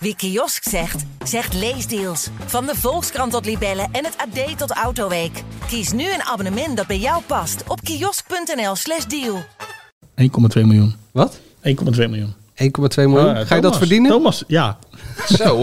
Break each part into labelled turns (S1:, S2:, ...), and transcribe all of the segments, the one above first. S1: Wie kiosk zegt, zegt leesdeals. Van de Volkskrant tot Libellen en het AD tot Autoweek. Kies nu een abonnement dat bij jou past op kiosk.nl/slash deal.
S2: 1,2 miljoen.
S3: Wat?
S2: 1,2 miljoen.
S3: 1,2
S2: Ah,
S3: miljoen? Ga je dat
S2: Thomas,
S3: verdienen?
S2: Thomas, ja.
S4: Zo.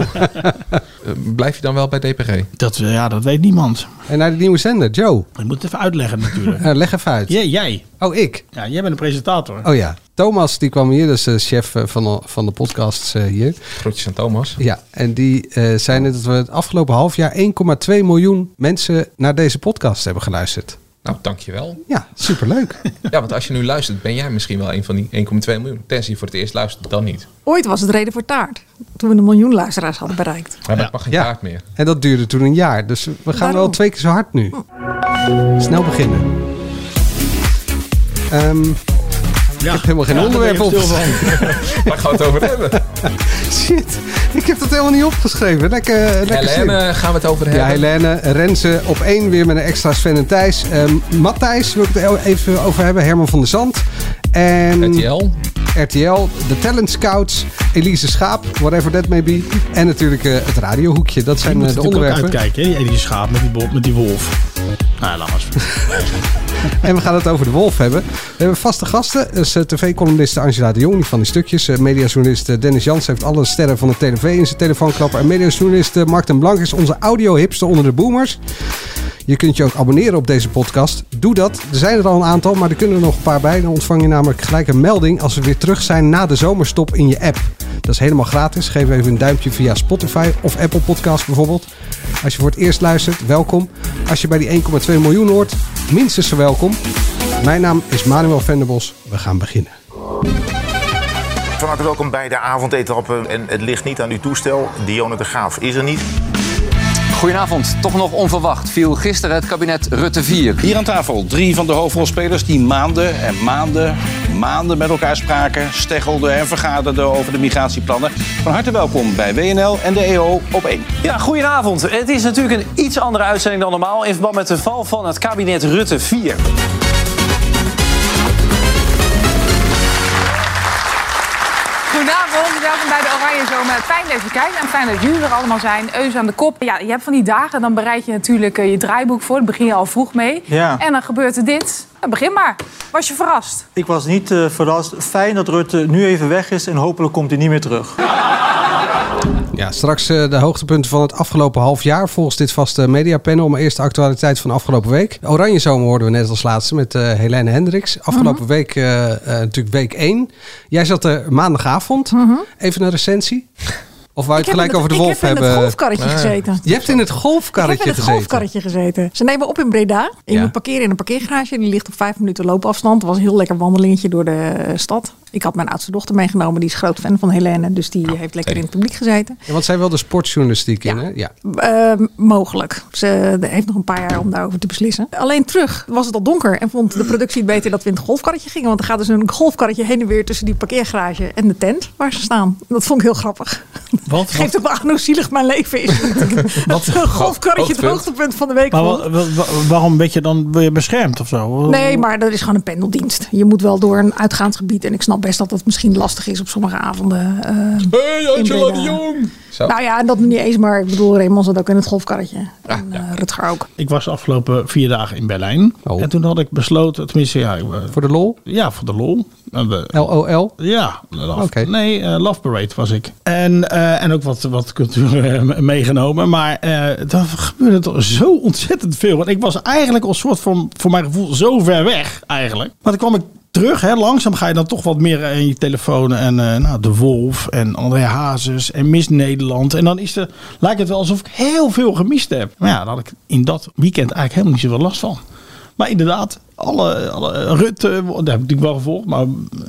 S4: Eh, Blijf je dan wel bij DPG?
S2: Dat, eh, ja, dat weet niemand.
S3: En naar de nieuwe zender, Joe.
S2: Ik moet het even uitleggen natuurlijk.
S3: Eh, leg even uit.
S2: Jij, jij.
S3: Oh, ik?
S2: Ja, jij bent een presentator.
S3: Oh ja. Thomas, die kwam hier, dat is de chef eh, van de, van de podcasts eh, hier.
S4: Groetjes aan Thomas.
S3: Ja, en die eh zei net dat we het afgelopen half jaar 1,2 miljoen mensen naar deze podcast hebben geluisterd.
S4: Nou, dankjewel.
S3: Ja, superleuk.
S4: Ja, want als je nu luistert, ben jij misschien wel een van die 1,2 miljoen. Tenzij je voor het eerst luistert, dan niet.
S5: Ooit was het reden voor taart. Toen we een miljoen luisteraars hadden bereikt.
S4: Maar ik mag geen
S3: Ja.
S4: kaart meer.
S3: en dat duurde toen een jaar, dus we gaan wel
S5: Waarom?
S3: twee keer zo hard nu. Snel beginnen. Ehm,
S2: Ja.
S3: Ik heb helemaal geen
S2: Ja,
S3: onderwerp
S2: daar ben je
S3: op.
S2: stil van.
S4: Waar gaan we het over hebben?
S3: shit, ik heb dat helemaal niet opgeschreven. Lekker, eh, lekker slim.
S4: Helene, eh, gaan we het over
S3: Ja,
S2: Eh,
S4: hebben?
S3: Helene, Renze op één weer met een extra Sven en Thijs. Ehm, Matthijs wil ik het e- even over hebben. Herman van der Zand. En
S4: RTL.
S3: RTL, de Talent Scouts, Elise Schaap, whatever that may be. En natuurlijk eh, het radiohoekje. Dat
S2: Je
S3: zijn
S2: moet
S3: eh, de
S2: natuurlijk ook
S3: onderwerpen.
S2: uitkijken, hè? die ene die schaap met die, bo- met die wolf. Nou, laat maar eens.
S3: En we gaan het over de wolf hebben. We hebben vaste gasten. Dus tv-columniste Angela de Jong, die van die stukjes. Eh, mediajournalist eh, Dennis Jans heeft alle sterren van de TV in zijn telefoonklapper. En mediajournalist eh, Mark den Blank is onze audio-hipster onder de boomers. Je kunt je ook abonneren op deze podcast. Doe dat. Er zijn er al een aantal, maar er kunnen er nog een paar bij. Dan ontvang je namelijk gelijk een melding als we weer terug zijn na de zomerstop in je app. Dat is helemaal gratis. Geef even een duimpje via Spotify of Apple Podcast bijvoorbeeld. Als je voor het eerst luistert, welkom. Als je bij die 1,2 miljoen hoort, minstens zo welkom. Mijn naam is Manuel Venderbos. We gaan beginnen.
S6: Van harte welkom bij de avondetappe. En het ligt niet aan uw toestel. Dionne de Graaf is er niet.
S7: Goedenavond. Toch nog onverwacht viel gisteren het kabinet Rutte 4.
S8: Hier aan tafel drie van de hoofdrolspelers die maanden en maanden, maanden met elkaar spraken, steggelden en vergaderden over de migratieplannen. Van harte welkom bij WNL en de EO op 1.
S9: Ja, goedenavond. Het is natuurlijk een iets andere uitzending dan normaal in verband met de val van het kabinet Rutte 4.
S10: Goedenavond, welkom bij de Oranje Zomer. Fijn dat je kijkt en fijn dat jullie er allemaal zijn. Eus aan de kop. Ja, je hebt van die dagen, dan bereid je natuurlijk eh, je draaiboek voor. Daar begin je al vroeg mee.
S11: Ja.
S10: En dan gebeurt er dit. Nou, begin maar. Was je verrast?
S11: Ik was niet eh, verrast. Fijn dat Rutte nu even weg is en hopelijk komt hij niet meer terug.
S3: Ja, straks eh, de hoogtepunten van het afgelopen half jaar volgens dit vaste mediapanel. Maar eerst de actualiteit van afgelopen week. Oranje Zomer hoorden we net als laatste met eh, Helene Hendricks. Afgelopen
S5: Mhm.
S3: week eh, eh, natuurlijk week 1. Jij zat er maandagavond. Even een recensie. Of wou je het gelijk over de wolf
S5: Mhm. Ik heb in
S3: hebben?
S5: het golfkarretje gezeten.
S3: Je hebt in het
S5: Ik
S3: golfkarretje
S5: heb in het
S3: gezeten.
S5: golfkarretje gezeten. Ze nemen op in Breda. Je
S3: Ja.
S5: moet parkeren in een parkeergarage. Die ligt op vijf minuten loopafstand. Het was een heel lekker wandelingetje door de eh, stad. Ik had mijn oudste dochter meegenomen. Die is groot fan van Helene. Dus die heeft lekker in het publiek gezeten.
S3: Ja, want zij wilde sportjournalistiek in, hè? Ja.
S5: Eh, mogelijk. Ze eh, heeft nog een paar jaar om daarover te beslissen. Alleen terug was het al donker en vond de productie het beter dat we in het golfkarretje gingen. Want er gaat dus een golfkarretje heen en weer tussen die parkeergarage en de tent waar ze staan. Dat vond ik heel grappig.
S2: Wat?
S5: Geeft ook wel aan hoe zielig mijn leven is.
S2: Wat?
S5: Het golfkarretje, het
S4: Hoogtepunt.
S5: hoogtepunt van de week.
S2: Maar
S5: vond.
S2: wa- wa- wa- waarom ben je dan ben je beschermd of zo?
S5: Nee, maar dat is gewoon een pendeldienst. Je moet wel door een uitgaansgebied. En ik snap best dat dat misschien lastig is op sommige avonden. eh,
S4: Hey, Angela
S5: Breda.
S4: de Jong. Zo.
S5: nou ja, en dat niet eens. Maar ik bedoel, Raymond zat ook in het golfkarretje. en eh, Rutger ook.
S2: Ik was de afgelopen vier dagen in Berlijn.
S3: Oh.
S2: En toen had ik besloten, tenminste, ja, ik, eh,
S3: Voor de lol?
S2: ja voor de lol. Eh, we-
S3: LOL?
S2: Ja, Love-
S3: Oké.
S2: nee, eh, Love Parade was ik. En, eh, en ook wat, wat cultuur eh, me- meegenomen. Maar eh daar gebeurde toch zo ontzettend veel. Want ik was eigenlijk als soort van, voor mijn gevoel, zo ver weg eigenlijk. Maar toen kwam ik terug. Hè. Langzaam ga je dan toch wat meer eh, in je telefoon. En eh, nou, De Wolf en André Hazes en Miss Nederland. En dan is er, lijkt het wel alsof ik heel veel gemist heb. Maar ja, daar had ik in dat weekend eigenlijk helemaal niet zoveel last van. Maar inderdaad, alle, alle Rutte, daar heb ik natuurlijk wel gevolgd, maar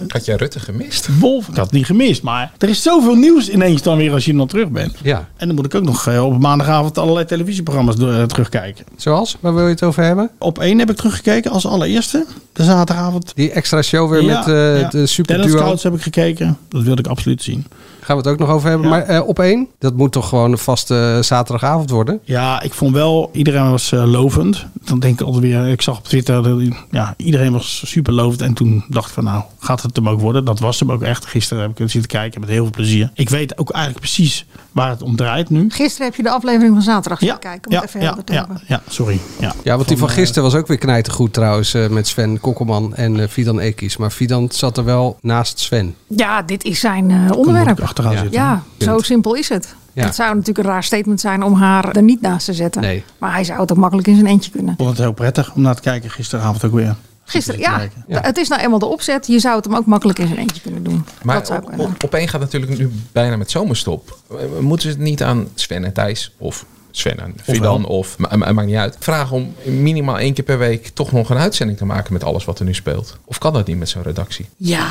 S4: Had jij Rutte gemist?
S2: Wolf, ik had het niet gemist, maar er is zoveel nieuws ineens dan weer als je dan terug bent.
S3: Ja.
S2: En dan moet ik ook nog eh, op maandagavond allerlei televisieprogramma's door- eh, terugkijken.
S3: Zoals? Waar wil je het over hebben?
S2: Op één heb ik teruggekeken als allereerste, de zaterdagavond.
S3: Die extra show weer met
S2: Ja,
S3: eh
S2: ja.
S3: de
S2: Talent
S3: superduo.
S2: Scouts heb ik gekeken, dat wilde ik absoluut zien.
S3: Gaan we het ook nog over hebben. Maar eh, op één, dat moet toch gewoon een vaste eh, zaterdagavond worden?
S2: Ja, ik vond wel, iedereen was eh, lovend. Dan denk ik altijd weer, ik zag op Twitter, dat- ja, iedereen was super lovend. En toen dacht ik van nou, gaat het hem ook worden? Dat was hem ook echt. Gisteren heb ik het zitten kijken met heel veel plezier. Ik weet ook eigenlijk precies waar het om draait nu.
S5: Gisteren heb je de aflevering van zaterdag
S2: Ja,
S5: gekeken. kijken. Om
S2: ja,
S5: het even
S2: ja,
S5: helder te
S2: ja,
S5: hebben.
S2: ja, sorry. Ja,
S3: Ja, want die van
S2: eh,
S3: gisteren was ook weer knijtergoed trouwens. eh, met Sven Kokkelman en eh, Fidan Ekis. Maar Fidan zat er wel naast Sven.
S5: Ja, dit is zijn eh, onderwerp.
S2: achteraan
S5: ja,
S3: zitten.
S5: zo simpel is het.
S3: Ja.
S5: Het zou natuurlijk een raar statement zijn om haar er niet naast te zetten.
S2: Nee.
S5: Maar hij zou het ook makkelijk in zijn eentje kunnen.
S2: Ik vond het heel prettig om naar te kijken gisteravond ook weer.
S5: Gisteren, ja, t- Het is nou eenmaal de opzet. Je zou het hem ook makkelijk in zijn eentje kunnen doen.
S4: Maar
S5: dat zou
S4: op,
S5: kunnen.
S4: op, opeen gaat natuurlijk nu bijna met zomerstop. Eh, Moeten ze het niet aan Sven en Thijs of Sven en Fidan of ma- ma- maakt niet uit. Vragen om minimaal één keer per week toch nog een uitzending te maken met alles wat er nu speelt. Of kan dat niet met zo'n redactie?
S5: Ja,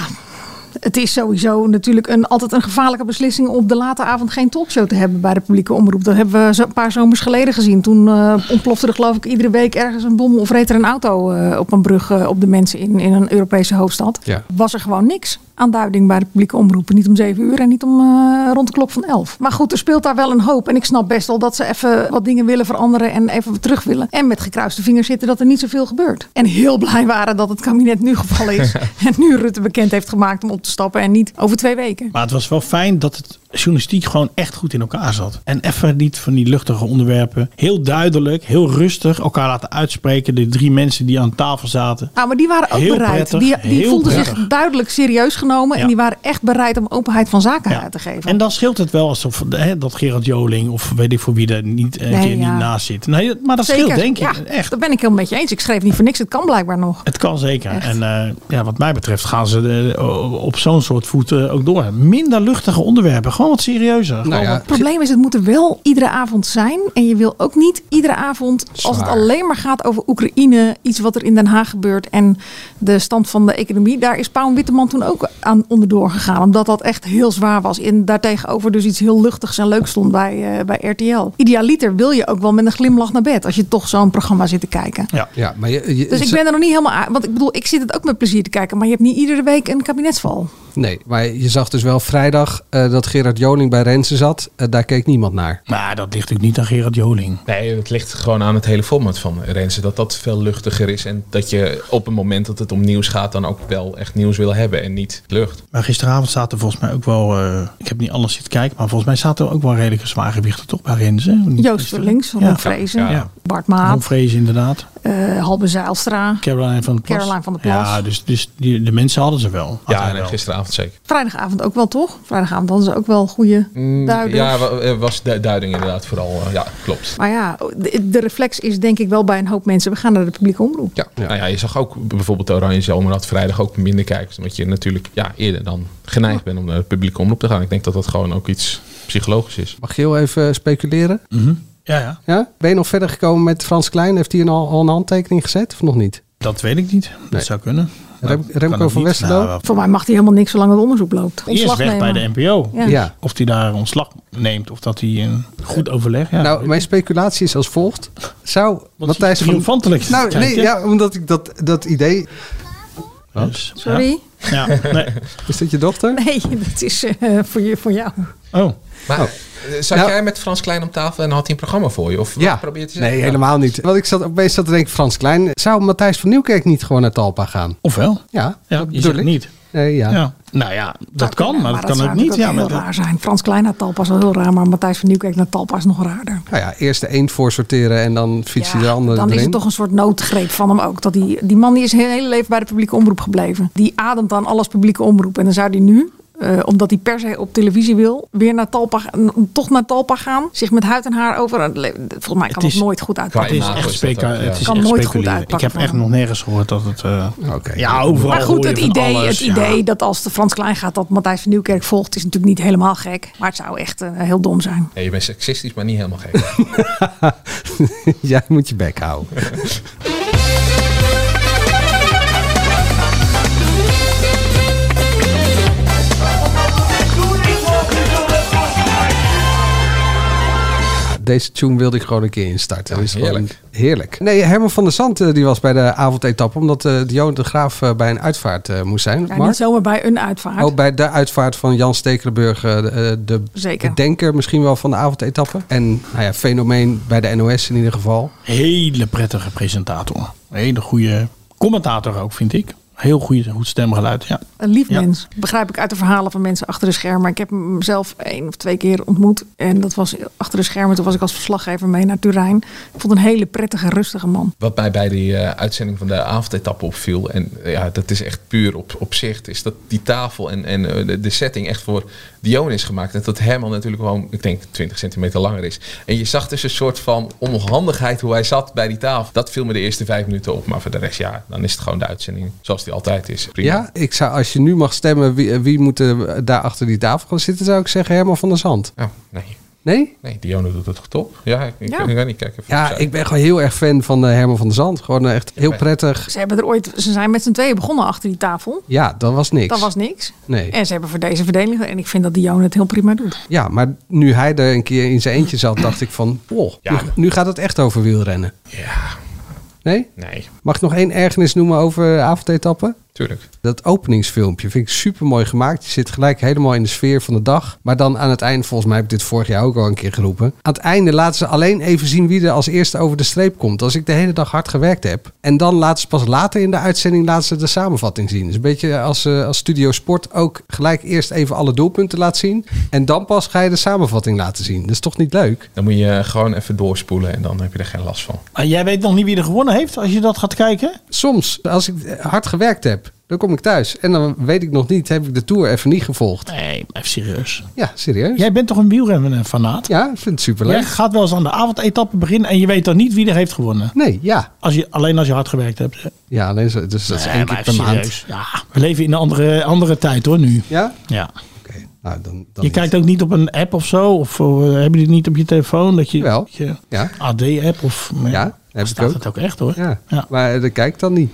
S5: het is sowieso natuurlijk een, altijd een gevaarlijke beslissing om op de late avond geen talkshow te hebben bij de publieke omroep. Dat hebben we zo- een paar zomers geleden gezien. Toen eh, ontplofte er geloof ik iedere week ergens een bom of reed er een auto eh, op een brug eh, op de mensen in, in een Europese hoofdstad.
S3: Ja.
S5: Was er gewoon niks aan duiding bij de publieke omroep. Niet om zeven uur en niet om eh, rond de klok van elf. Maar goed, er speelt daar wel een hoop. En ik snap best wel dat ze even wat dingen willen veranderen en even wat terug willen. En met gekruiste vingers zitten dat er niet zoveel gebeurt. En heel blij waren dat het kabinet nu gevallen is. en nu Rutte bekend heeft gemaakt om op te stappen en niet over twee weken.
S2: Maar het was wel fijn dat het journalistiek gewoon echt goed in elkaar zat. En even niet van die luchtige onderwerpen. Heel duidelijk, heel rustig elkaar laten uitspreken. De drie mensen die aan tafel zaten.
S5: Nou, maar die waren ook
S2: Heel
S5: bereid.
S2: prettig,
S5: die die
S2: heel
S5: voelden zich
S2: prettig.
S5: duidelijk serieus genomen. En
S2: Ja.
S5: die waren echt bereid om openheid van zaken uit te geven.
S2: En dan scheelt het wel alsof hè, dat Gerard Joling of weet ik voor wie er niet, een
S5: Nee,
S2: keer
S5: ja.
S2: niet naast zit. Nee, maar dat scheelt denk ik.
S5: Ja, Dat ben ik heel met je eens. Ik schreef niet voor niks. Het kan blijkbaar nog.
S2: Het kan zeker. En eh, ja, wat mij betreft gaan ze eh, op zo'n soort voet eh, ook door. Minder luchtige onderwerpen. Gewoon wat serieuzer.
S5: Nou.
S3: Nou
S2: Gewoon wat-
S5: Het probleem is, het moet er wel iedere avond zijn. En je wil ook niet iedere avond, als het
S2: Zwaar.
S5: alleen maar gaat over Oekraïne, iets wat er in Den Haag gebeurt en de stand van de economie. Daar is Paul Witteman toen ook aan onderdoor gegaan. Omdat dat echt heel zwaar was. En daartegenover dus iets heel luchtigs en leuks stond bij, eh, bij RTL. Idealiter wil je ook wel met een glimlach naar bed als je toch zo'n programma zit te kijken.
S2: Ja,
S3: ja maar je, je-
S5: Dus ik
S3: ze-
S5: ben er nog niet helemaal aan. Want ik bedoel, ik zit het ook met plezier te kijken. Maar je hebt niet iedere week een kabinetsval.
S3: Nee, maar je zag dus wel vrijdag eh, dat Gerard Joling bij Rensen zat. Eh, daar keek niemand naar.
S2: Maar dat ligt natuurlijk niet aan Gerard Joling.
S4: Nee, het ligt gewoon aan het hele format van Rensen. Dat dat veel luchtiger is. En dat je op het moment dat het om nieuws gaat, dan ook wel echt nieuws wil hebben. En niet lucht.
S2: Maar gisteravond zaten volgens mij ook wel, eh, ik heb niet alles zitten kijken, maar volgens mij zaten er ook wel redelijke zwaargewichten toch bij Renzen.
S5: Joost Vullings, Ron Vrezen, Bart Maat.
S2: Ron Vrezen inderdaad.
S5: eh Halbe Zijlstra.
S2: Caroline van der Plas.
S5: Caroline van der Plas.
S2: Ja, dus, dus die, de mensen hadden ze wel.
S4: Ja, nee, gisteravond zeker.
S5: Vrijdagavond ook wel, toch? Vrijdagavond hadden ze ook wel goede duiding.
S4: Ja, wa- eh, was de duiding inderdaad vooral. eh, Ja, klopt.
S5: Maar ja, de, de reflex is denk ik wel bij een hoop mensen. We gaan naar de publieke omroep.
S4: Ja. Nou ja, je zag ook bijvoorbeeld de Oranje Zomer had vrijdag ook minder kijkers. Omdat je natuurlijk ja, eerder dan geneigd bent om naar het publiek omroep te gaan. Ik denk dat dat gewoon ook iets psychologisch is.
S3: Mag je heel even eh, speculeren?
S2: Ja, ja.
S3: Ja? Ben je nog verder gekomen met Frans Klein? Heeft hij een- al, al een handtekening gezet of nog niet?
S2: Dat weet ik niet. Dat zou kunnen.
S3: Rem-
S2: kan
S3: Remco
S2: ook
S3: van
S2: niet.
S3: Westerlo?
S2: Nou, wel-
S5: Voor mij mag die helemaal niks zolang het onderzoek loopt.
S2: Eerst
S5: Ontslag
S2: weg
S5: nemen.
S2: bij de NPO.
S5: Ja.
S3: Ja.
S2: Of hij daar ontslag neemt of dat hij een goed overleg. Ja.
S3: nou, mijn speculatie is als volgt. Zou Matthijs van...
S2: triomfantelijk te
S3: Nou, nee,
S2: kijken.
S3: ja, omdat ik dat, dat idee...
S2: Wat?
S5: Sorry?
S2: Dus, Ja. Nee.
S3: Is dat je dochter?
S5: Nee, dat is eh, voor, je, voor jou.
S2: Oh.
S4: Maar
S3: Oh.
S4: eh, zat
S3: Nou-
S4: jij met Frans Klein om tafel en had hij een programma voor je? Of wat
S3: Ja,
S4: probeert hij
S3: nee,
S4: zeggen?
S3: helemaal niet. Want ik zat opeens zat te denken, Frans Klein... Zou Matthijs van Nieuwkerk niet gewoon naar Talpa gaan?
S2: Ofwel?
S3: Ja,
S2: Ja,
S3: dat
S2: je
S3: bedoel
S2: zegt
S3: ik.
S2: niet.
S3: Nee, ja.
S2: Ja. Nou ja, dat kan, maar dat kan
S5: zou
S2: ook niet. Ja,
S5: natuurlijk
S2: maar
S5: heel
S2: dat-
S5: raar zijn. Frans Klein naar Talpa is wel heel raar. Maar Matthijs van Nieuwkerk naar Talpa is nog raarder.
S3: Nou ja, eerst de een voor sorteren en dan fiets je de andere
S5: Dan
S3: erin.
S5: is het toch een soort noodgreep van hem ook. Dat die, die man die is heel hele leven bij de publieke omroep gebleven. Die ademt aan alles publieke omroep. En dan zou die nu, eh, omdat hij per se op televisie wil, weer naar Talpa, n- toch naar Talpa gaan. Zich met huid en haar over. het le- Volgens mij kan het, nooit goed
S2: Het
S5: uitpakken.
S2: is echt, speca-
S4: ook, ja.
S2: het is
S5: Kan
S2: echt
S5: nooit goed
S2: speculeren. Ik
S5: uitpakken
S2: heb echt
S5: van
S2: nog nergens gehoord dat het... eh,
S3: Oké.
S2: Ja, overal
S5: Maar goed,
S2: hoor je
S5: het
S2: van
S5: idee,
S2: alles,
S5: het
S2: ja.
S5: idee dat als de Frans Klein gaat dat Matthijs van Nieuwkerk volgt, is natuurlijk niet helemaal gek. Maar het zou echt eh, heel dom zijn.
S4: Nee, je bent seksistisch, maar niet helemaal gek.
S3: Jij moet je bek houden. Deze tune wilde ik gewoon een keer instarten. Dat is gewoon heerlijk. Nee, Herman van der Zand eh, die was bij de avondetappe. Omdat eh Dionne de Graaf eh, bij een uitvaart eh, moest zijn.
S5: Ja,
S3: Mark? Oh,
S5: niet zomaar bij een uitvaart.
S3: Ook bij de uitvaart van Jan Stekelenburg, eh, de, eh, de
S5: Zeker.
S3: bedenker misschien wel van de avondetappe. En nou ja, fenomeen bij de NOS in ieder geval.
S2: Hele prettige presentator. Hele goede commentator ook, vind ik. Heel goede, goed stemgeluid. Ja.
S5: Een lief
S2: Ja.
S5: mens. Begrijp ik uit de verhalen van mensen achter de schermen. Ik heb hem zelf één of twee keer ontmoet. En dat was achter de schermen. Toen was ik als verslaggever mee naar Turijn. Ik vond een hele prettige, rustige man.
S4: Wat mij bij die eh, uitzending van de avondetappe opviel, en eh, ja, dat is echt puur op, op zicht, is dat die tafel en, en eh, de, de setting echt voor Dion is gemaakt. En dat Herman natuurlijk gewoon, ik denk, 20 centimeter langer is. En je zag dus een soort van onhandigheid hoe hij zat bij die tafel. Dat viel me de eerste vijf minuten op, maar voor de rest, ja, dan is het gewoon de uitzending zoals die altijd is. Prima.
S3: Ja, ik zou, als je nu mag stemmen wie, eh, wie moet er daar achter die tafel gaan zitten, zou ik zeggen Herman van der Zand.
S4: Ja, Oh, nee.
S3: Nee?
S4: Nee, Dionne doet het top. Ja, ik, ik,
S5: Ja.
S4: ik kan niet kijken. of
S3: Ja,
S4: zij-
S3: ik ben gewoon heel erg fan van eh, Herman van der Zand. Gewoon eh, echt heel
S4: ben-
S3: prettig.
S5: Ze, hebben er ooit, ze zijn met z'n tweeën begonnen achter die tafel.
S3: Ja, dat was niks.
S5: Dat was niks.
S3: Nee.
S5: En ze hebben voor deze verdeling. En ik vind dat Dionne het heel prima doet.
S3: Ja, maar nu hij er een keer in zijn eentje zat, dacht ik van, oh,
S4: Ja.
S3: nu, nu gaat het echt over wielrennen.
S4: Ja,
S3: Nee?
S4: nee,
S3: Mag ik nog één ergernis noemen over avondetappen?
S4: tuurlijk.
S3: Dat openingsfilmpje vind ik super mooi gemaakt. Je zit gelijk helemaal in de sfeer van de dag. Maar dan aan het eind, volgens mij heb ik dit vorig jaar ook al een keer geroepen. Aan het einde laten ze alleen even zien wie er als eerste over de streep komt. Als ik de hele dag hard gewerkt heb. En dan laten ze pas later in de uitzending laten ze de samenvatting zien. Dus een beetje als, eh, als Studio Sport ook gelijk eerst even alle doelpunten laat zien. En dan pas ga je de samenvatting laten zien. Dat is toch niet leuk?
S4: Dan moet je gewoon even doorspoelen en dan heb je er geen last van.
S2: Maar jij weet nog niet wie er gewonnen heeft als je dat gaat kijken?
S3: Soms, als ik eh, hard gewerkt heb, dan kom ik thuis. En dan weet ik nog niet, heb ik de Tour even niet gevolgd.
S2: Nee, blijf serieus.
S3: Ja, serieus.
S2: Jij bent toch een wielrennen-fanaat?
S3: Ja, ik vind het superleuk.
S2: Jij gaat wel eens aan de avondetappe beginnen en je weet dan niet wie er heeft gewonnen.
S3: Nee, ja.
S2: Als je, alleen als je hard gewerkt hebt.
S3: Ja, alleen zo, dus dat is
S2: Nee,
S3: één
S2: maar
S3: keer per maand.
S2: serieus. Ja, we leven in een andere, andere tijd hoor nu.
S3: Ja?
S2: Ja.
S3: Oké. Nou, dan, dan
S2: Je kijkt ook niet op een app of zo? Of eh, hebben die niet op je telefoon? Dat je,
S3: Jawel.
S2: dat je
S3: Ja.
S2: AD-app of...
S3: Ja, heb ik
S2: staat
S3: ook.
S2: het ook echt hoor. Oké.
S3: Ja.
S2: Ja.
S3: Maar eh, dat kijkt dan niet.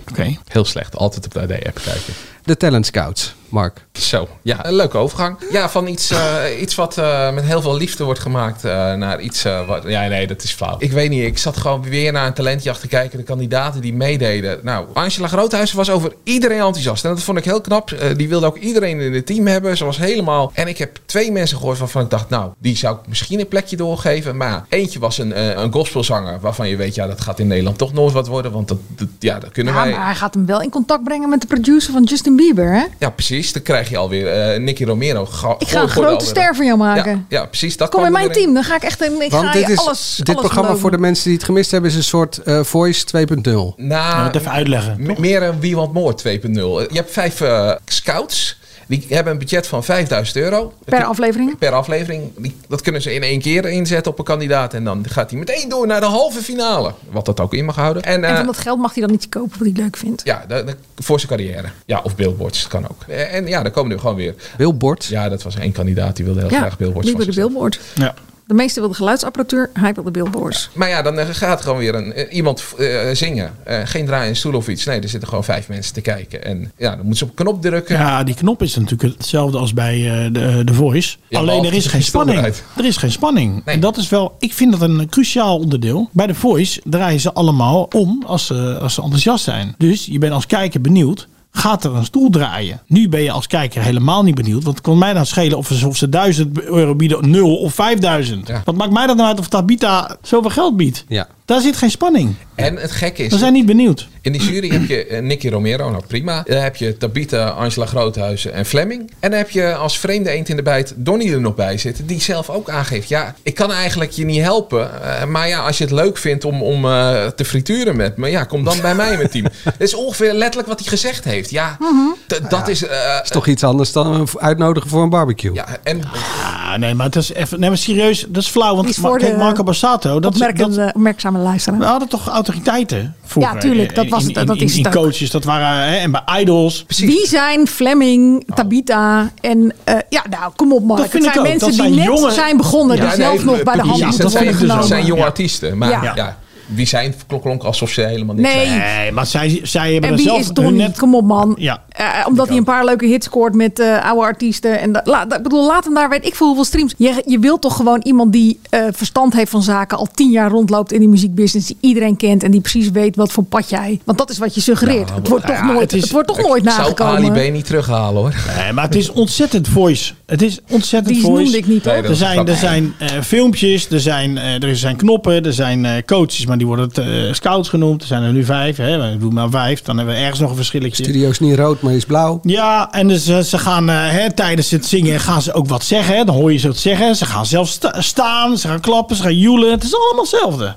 S4: Heel slecht, altijd op de AD-app kijken.
S3: De Talent Scouts, Mark.
S4: Zo, ja, een leuke overgang. Ja, van iets, eh, iets wat eh, met heel veel liefde wordt gemaakt eh, naar iets eh, wat... Ja, nee, dat is flauw. Ik weet niet, ik zat gewoon weer naar een talentjacht te kijken. De kandidaten die meededen. Nou, Angela Groothuizen was over iedereen enthousiast. En dat vond ik heel knap. Eh, die wilde ook iedereen in het team hebben. Ze was helemaal... En ik heb twee mensen gehoord waarvan ik dacht... Nou, die zou ik misschien een plekje doorgeven. Maar ja, eentje was een, eh, een gospelzanger waarvan je weet... Ja, dat gaat in Nederland toch nooit wat worden. Want dat, dat- ja, dat kunnen
S5: Ja,
S4: wij...
S5: maar hij gaat hem wel in contact brengen met de producer van Justin Bieber. Hè?
S4: Ja, precies. Dan krijg je alweer eh, Nicky Romero. Ga,
S5: Ik ga een grote ster van jou maken.
S4: Ja, ja, precies. Dat
S5: Kom
S4: kwam
S5: in mijn
S4: erin.
S5: team. Dan ga ik echt een, ik ga
S3: Want dit,
S5: je
S3: is,
S5: alles
S3: dit
S5: alles
S3: programma
S5: beloven.
S3: voor de mensen die het gemist hebben is een soort eh, Voice 2.0.
S2: Nou,
S4: Nou,
S2: het even uitleggen.
S4: m- meer een Wie Want More 2.0. Je hebt vijf eh, scouts. Die hebben een budget van 5000 euro.
S5: Per aflevering?
S4: Per aflevering. Die- dat kunnen ze in één keer inzetten op een kandidaat. En dan gaat hij meteen door naar de halve finale. Wat dat ook in mag houden. En,
S5: En
S4: eh,
S5: van dat geld mag hij dan iets kopen wat hij leuk vindt.
S4: ja, de- de- voor zijn carrière. Ja, of billboards. Dat kan ook. Eh, En ja, daar komen nu gewoon weer.
S3: Billboard.
S4: Ja, dat was één kandidaat. Die wilde heel graag billboards.
S5: die
S4: van
S5: wilde
S4: zichzelf.
S5: billboard.
S2: Ja.
S5: De meeste wilden geluidsapparatuur, hij wilde billboards.
S4: Maar ja, dan eh, gaat gewoon weer een, eh, iemand eh, zingen. Eh, geen draai en stoel of iets. Nee, er zitten gewoon vijf mensen te kijken. En ja, dan moeten ze op een knop drukken.
S2: Ja, die knop is natuurlijk hetzelfde als bij eh, de, de Voice.
S4: Ja,
S2: Alleen er
S4: behalve
S2: is geen
S4: die stil
S2: spanning.
S4: eruit.
S2: Er is geen spanning.
S4: Nee.
S2: En dat is wel, ik vind dat een cruciaal onderdeel. Bij de Voice draaien ze allemaal om als ze, als ze enthousiast zijn. Dus je bent als kijker benieuwd. Gaat er een stoel draaien? Nu ben je als kijker helemaal niet benieuwd. Want het kon mij dan schelen of ze, of ze 1000 euro bieden, 0 of 5000.
S4: Ja.
S2: Wat maakt mij dat nou uit of Tabita zoveel geld biedt?
S3: Ja.
S2: Daar zit geen spanning.
S4: En het gekke
S2: We
S4: is,
S2: zijn niet benieuwd.
S4: in die jury heb je eh, Nicky Romero, nou prima. Dan heb je Tabita, Angela Groothuizen en Fleming. En dan heb je als vreemde eend in de bijt Donnie er nog bij zitten. Die zelf ook aangeeft, ja, ik kan eigenlijk je niet helpen. eh, maar ja, als je het leuk vindt om, om eh, te frituren met me, ja, kom dan bij mij in mijn team. Dat is ongeveer letterlijk wat hij gezegd heeft. Ja,
S2: Mhm.
S4: d- dat is... eh,
S3: is toch iets anders dan een v- uitnodigen voor een barbecue.
S4: ja, en
S2: Ah, nee, maar het is even. Nee, maar serieus, dat is flauw. Want
S5: Die is
S2: Ma-
S5: voor
S2: kijk,
S5: de
S2: Marco Bassato, dat, is- dat,
S5: Opmerkende, opmerkzame
S2: We
S5: luisteraar.
S2: hadden toch autoriteiten vroeger? Eh,
S5: Ja, tuurlijk, dat was
S2: In-
S5: het,
S2: in-
S5: dat
S2: in-
S5: is het
S2: in
S5: ook.
S2: coaches, dat waren... Hè, en bij idols.
S5: Wie zijn Fleming, Tabita en... eh, ja, nou, kom op Mark.
S2: Nou. Dat vind
S5: het
S2: ik
S5: zijn
S2: ook.
S5: mensen
S2: Dat
S5: die
S2: zijn
S5: net
S2: jonge-
S5: zijn begonnen...
S4: Ja,
S5: die zelf
S4: nee,
S5: nog bij de hand
S4: precies.
S5: moeten
S2: dat
S5: worden
S2: vind ik dus
S5: genomen.
S4: Dat zijn jonge
S2: Ja.
S4: artiesten. Maar
S5: Ja.
S4: ja. die zijn klonk alsof ze helemaal niks
S5: Nee.
S4: zijn.
S5: Nee,
S2: maar zij, zij
S5: En wie is Donnie? Kom op, man.
S2: Ja.
S5: Eh, omdat hij een paar leuke hits scoort met eh, oude artiesten. En dat- la- dat- ik bedoel, laat hem daar, weet ik veel hoeveel streams. Je, je wilt toch gewoon iemand die eh, verstand heeft van zaken... al tien jaar rondloopt in die muziekbusiness... die iedereen kent en die precies weet wat voor pad jij... Want dat is wat je suggereert. het, wordt toch nooit, het, wordt toch nooit nagekomen.
S4: zou Ali B niet terughalen hoor.
S2: Nee, maar het is ontzettend voice. Het is ontzettend
S5: Die
S2: voice.
S5: noemde ik niet, hoor. Nee, dat
S2: er
S5: is een
S2: zijn, er
S5: grap.
S2: zijn eh, filmpjes, er zijn, eh, er zijn knoppen, er zijn eh, coaches, maar die worden eh, scouts genoemd. Er zijn er nu vijf. Hè. We doen maar vijf. Dan hebben we ergens nog een verschilletje.
S3: Studio is niet rood, maar is blauw.
S2: Ja, en dus, eh, ze gaan eh, hè, tijdens het zingen gaan ze ook wat zeggen. hè. Dan hoor je ze wat zeggen. Ze gaan zelfs sta- staan, ze gaan klappen, ze gaan joelen. Het is allemaal hetzelfde.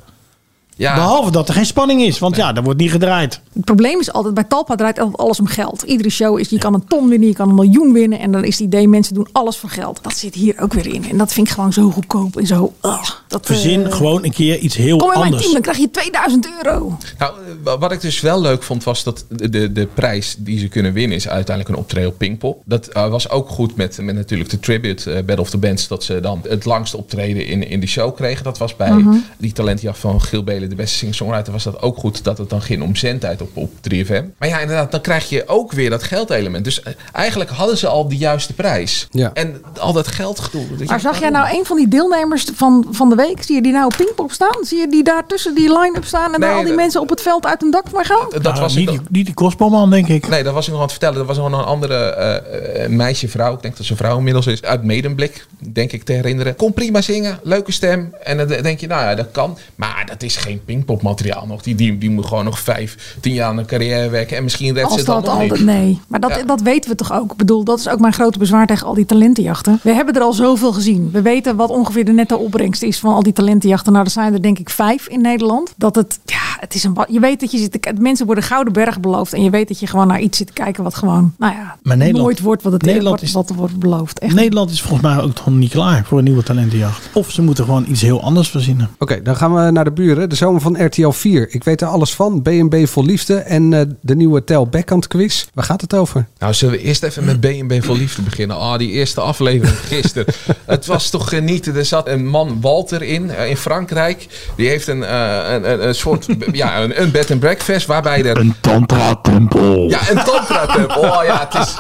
S2: Behalve dat er geen spanning is, want ja, daar wordt niet gedraaid.
S5: Het probleem is altijd, bij Talpa draait altijd alles om geld. Iedere show is, je kan een ton winnen, je kan een miljoen winnen. En dan is het idee, mensen doen alles voor geld. Dat zit hier ook weer in. En dat vind ik gewoon zo goedkoop en zo... ugh. dat, eh,
S2: Verzin gewoon een keer iets heel
S5: Kom in mijn
S2: anders.
S5: team, dan krijg je 2000 euro.
S4: Nou, wa- wat ik dus wel leuk vond was dat de, de, de prijs die ze kunnen winnen is uiteindelijk een optreden op Pinkpop. Dat eh, was ook goed met, met natuurlijk de tribute eh, Battle of the Bands. Dat ze dan het langste optreden in, in de show kregen. Dat was bij
S12: Mhm.
S4: die talentjacht van Gil Belen, de beste singer-songwriter, was dat ook goed. Dat het dan ging om zendtijd op, op 3FM. Maar ja, inderdaad, dan krijg je ook weer dat geldelement. Dus eh, eigenlijk hadden ze al de juiste prijs. En al dat geldgedoe. dat je-
S5: Maar zag jij nou een van die deelnemers van, van de week? Zie je die nou op Pinkpop staan? Zie je die daar tussen die line-up staan
S4: Nee,
S5: en daar al die
S4: dat-
S5: mensen op het veld uit hun dak voor gaan?
S4: Dat was ik
S2: Ah, niet,
S4: dan.
S2: die, niet die kostbalman, denk ik.
S4: Nee, dat was ik nog aan het vertellen. Er was nog een andere eh, eh, meisje, vrouw. Ik denk dat ze vrouw inmiddels is. Uit Medemblik, denk ik te herinneren. Kon prima zingen, leuke stem. En dan denk je, nou ja, dat kan. Maar dat is geen pingpopmateriaal nog. Die, die, die moet gewoon nog vijf, tien jaar aan een carrière werken. En misschien redt ze
S5: Als
S4: het dan
S5: dat
S4: nog
S5: al,
S4: niet.
S5: nee. Maar dat,
S4: Ja.
S5: dat weten we toch ook? Ik bedoel, dat is ook mijn grote bezwaar tegen al die talentenjachten. We hebben er al zoveel gezien. We weten wat ongeveer de netto opbrengst is van al die talentenjachten. Nou, er zijn er denk ik vijf in Nederland. Dat het, ja, het is een... ba- Je weet dat je zit... te k- Mensen worden Gouden Berg beloofd. En je weet dat je gewoon naar iets zit te kijken wat gewoon, nou ja,
S2: Maar Nederland-
S5: nooit wordt wat het
S2: Nederland
S5: is. Wat er wordt beloofd. Echt.
S2: Nederland is volgens mij ook nog niet klaar voor een nieuwe talentenjacht. Of ze moeten gewoon iets heel anders verzinnen.
S3: Oké, dan gaan we naar de buren. De zomer van RTL 4. Ik weet er alles van. B&B vol liefde en eh, de nieuwe Tel Backhand quiz. Waar gaat het over?
S4: Nou, zullen we eerst even met B&B voor Liefde beginnen? Ah, die eerste aflevering gisteren. het was toch genieten. Er zat een man, Walter, in, eh, in Frankrijk. Die heeft een, eh, een, een, een soort, ja, een, een bed and breakfast waarbij er... Een
S12: tantra-tempel.
S4: Ja, een tantra-tempel. Oh ja, het is...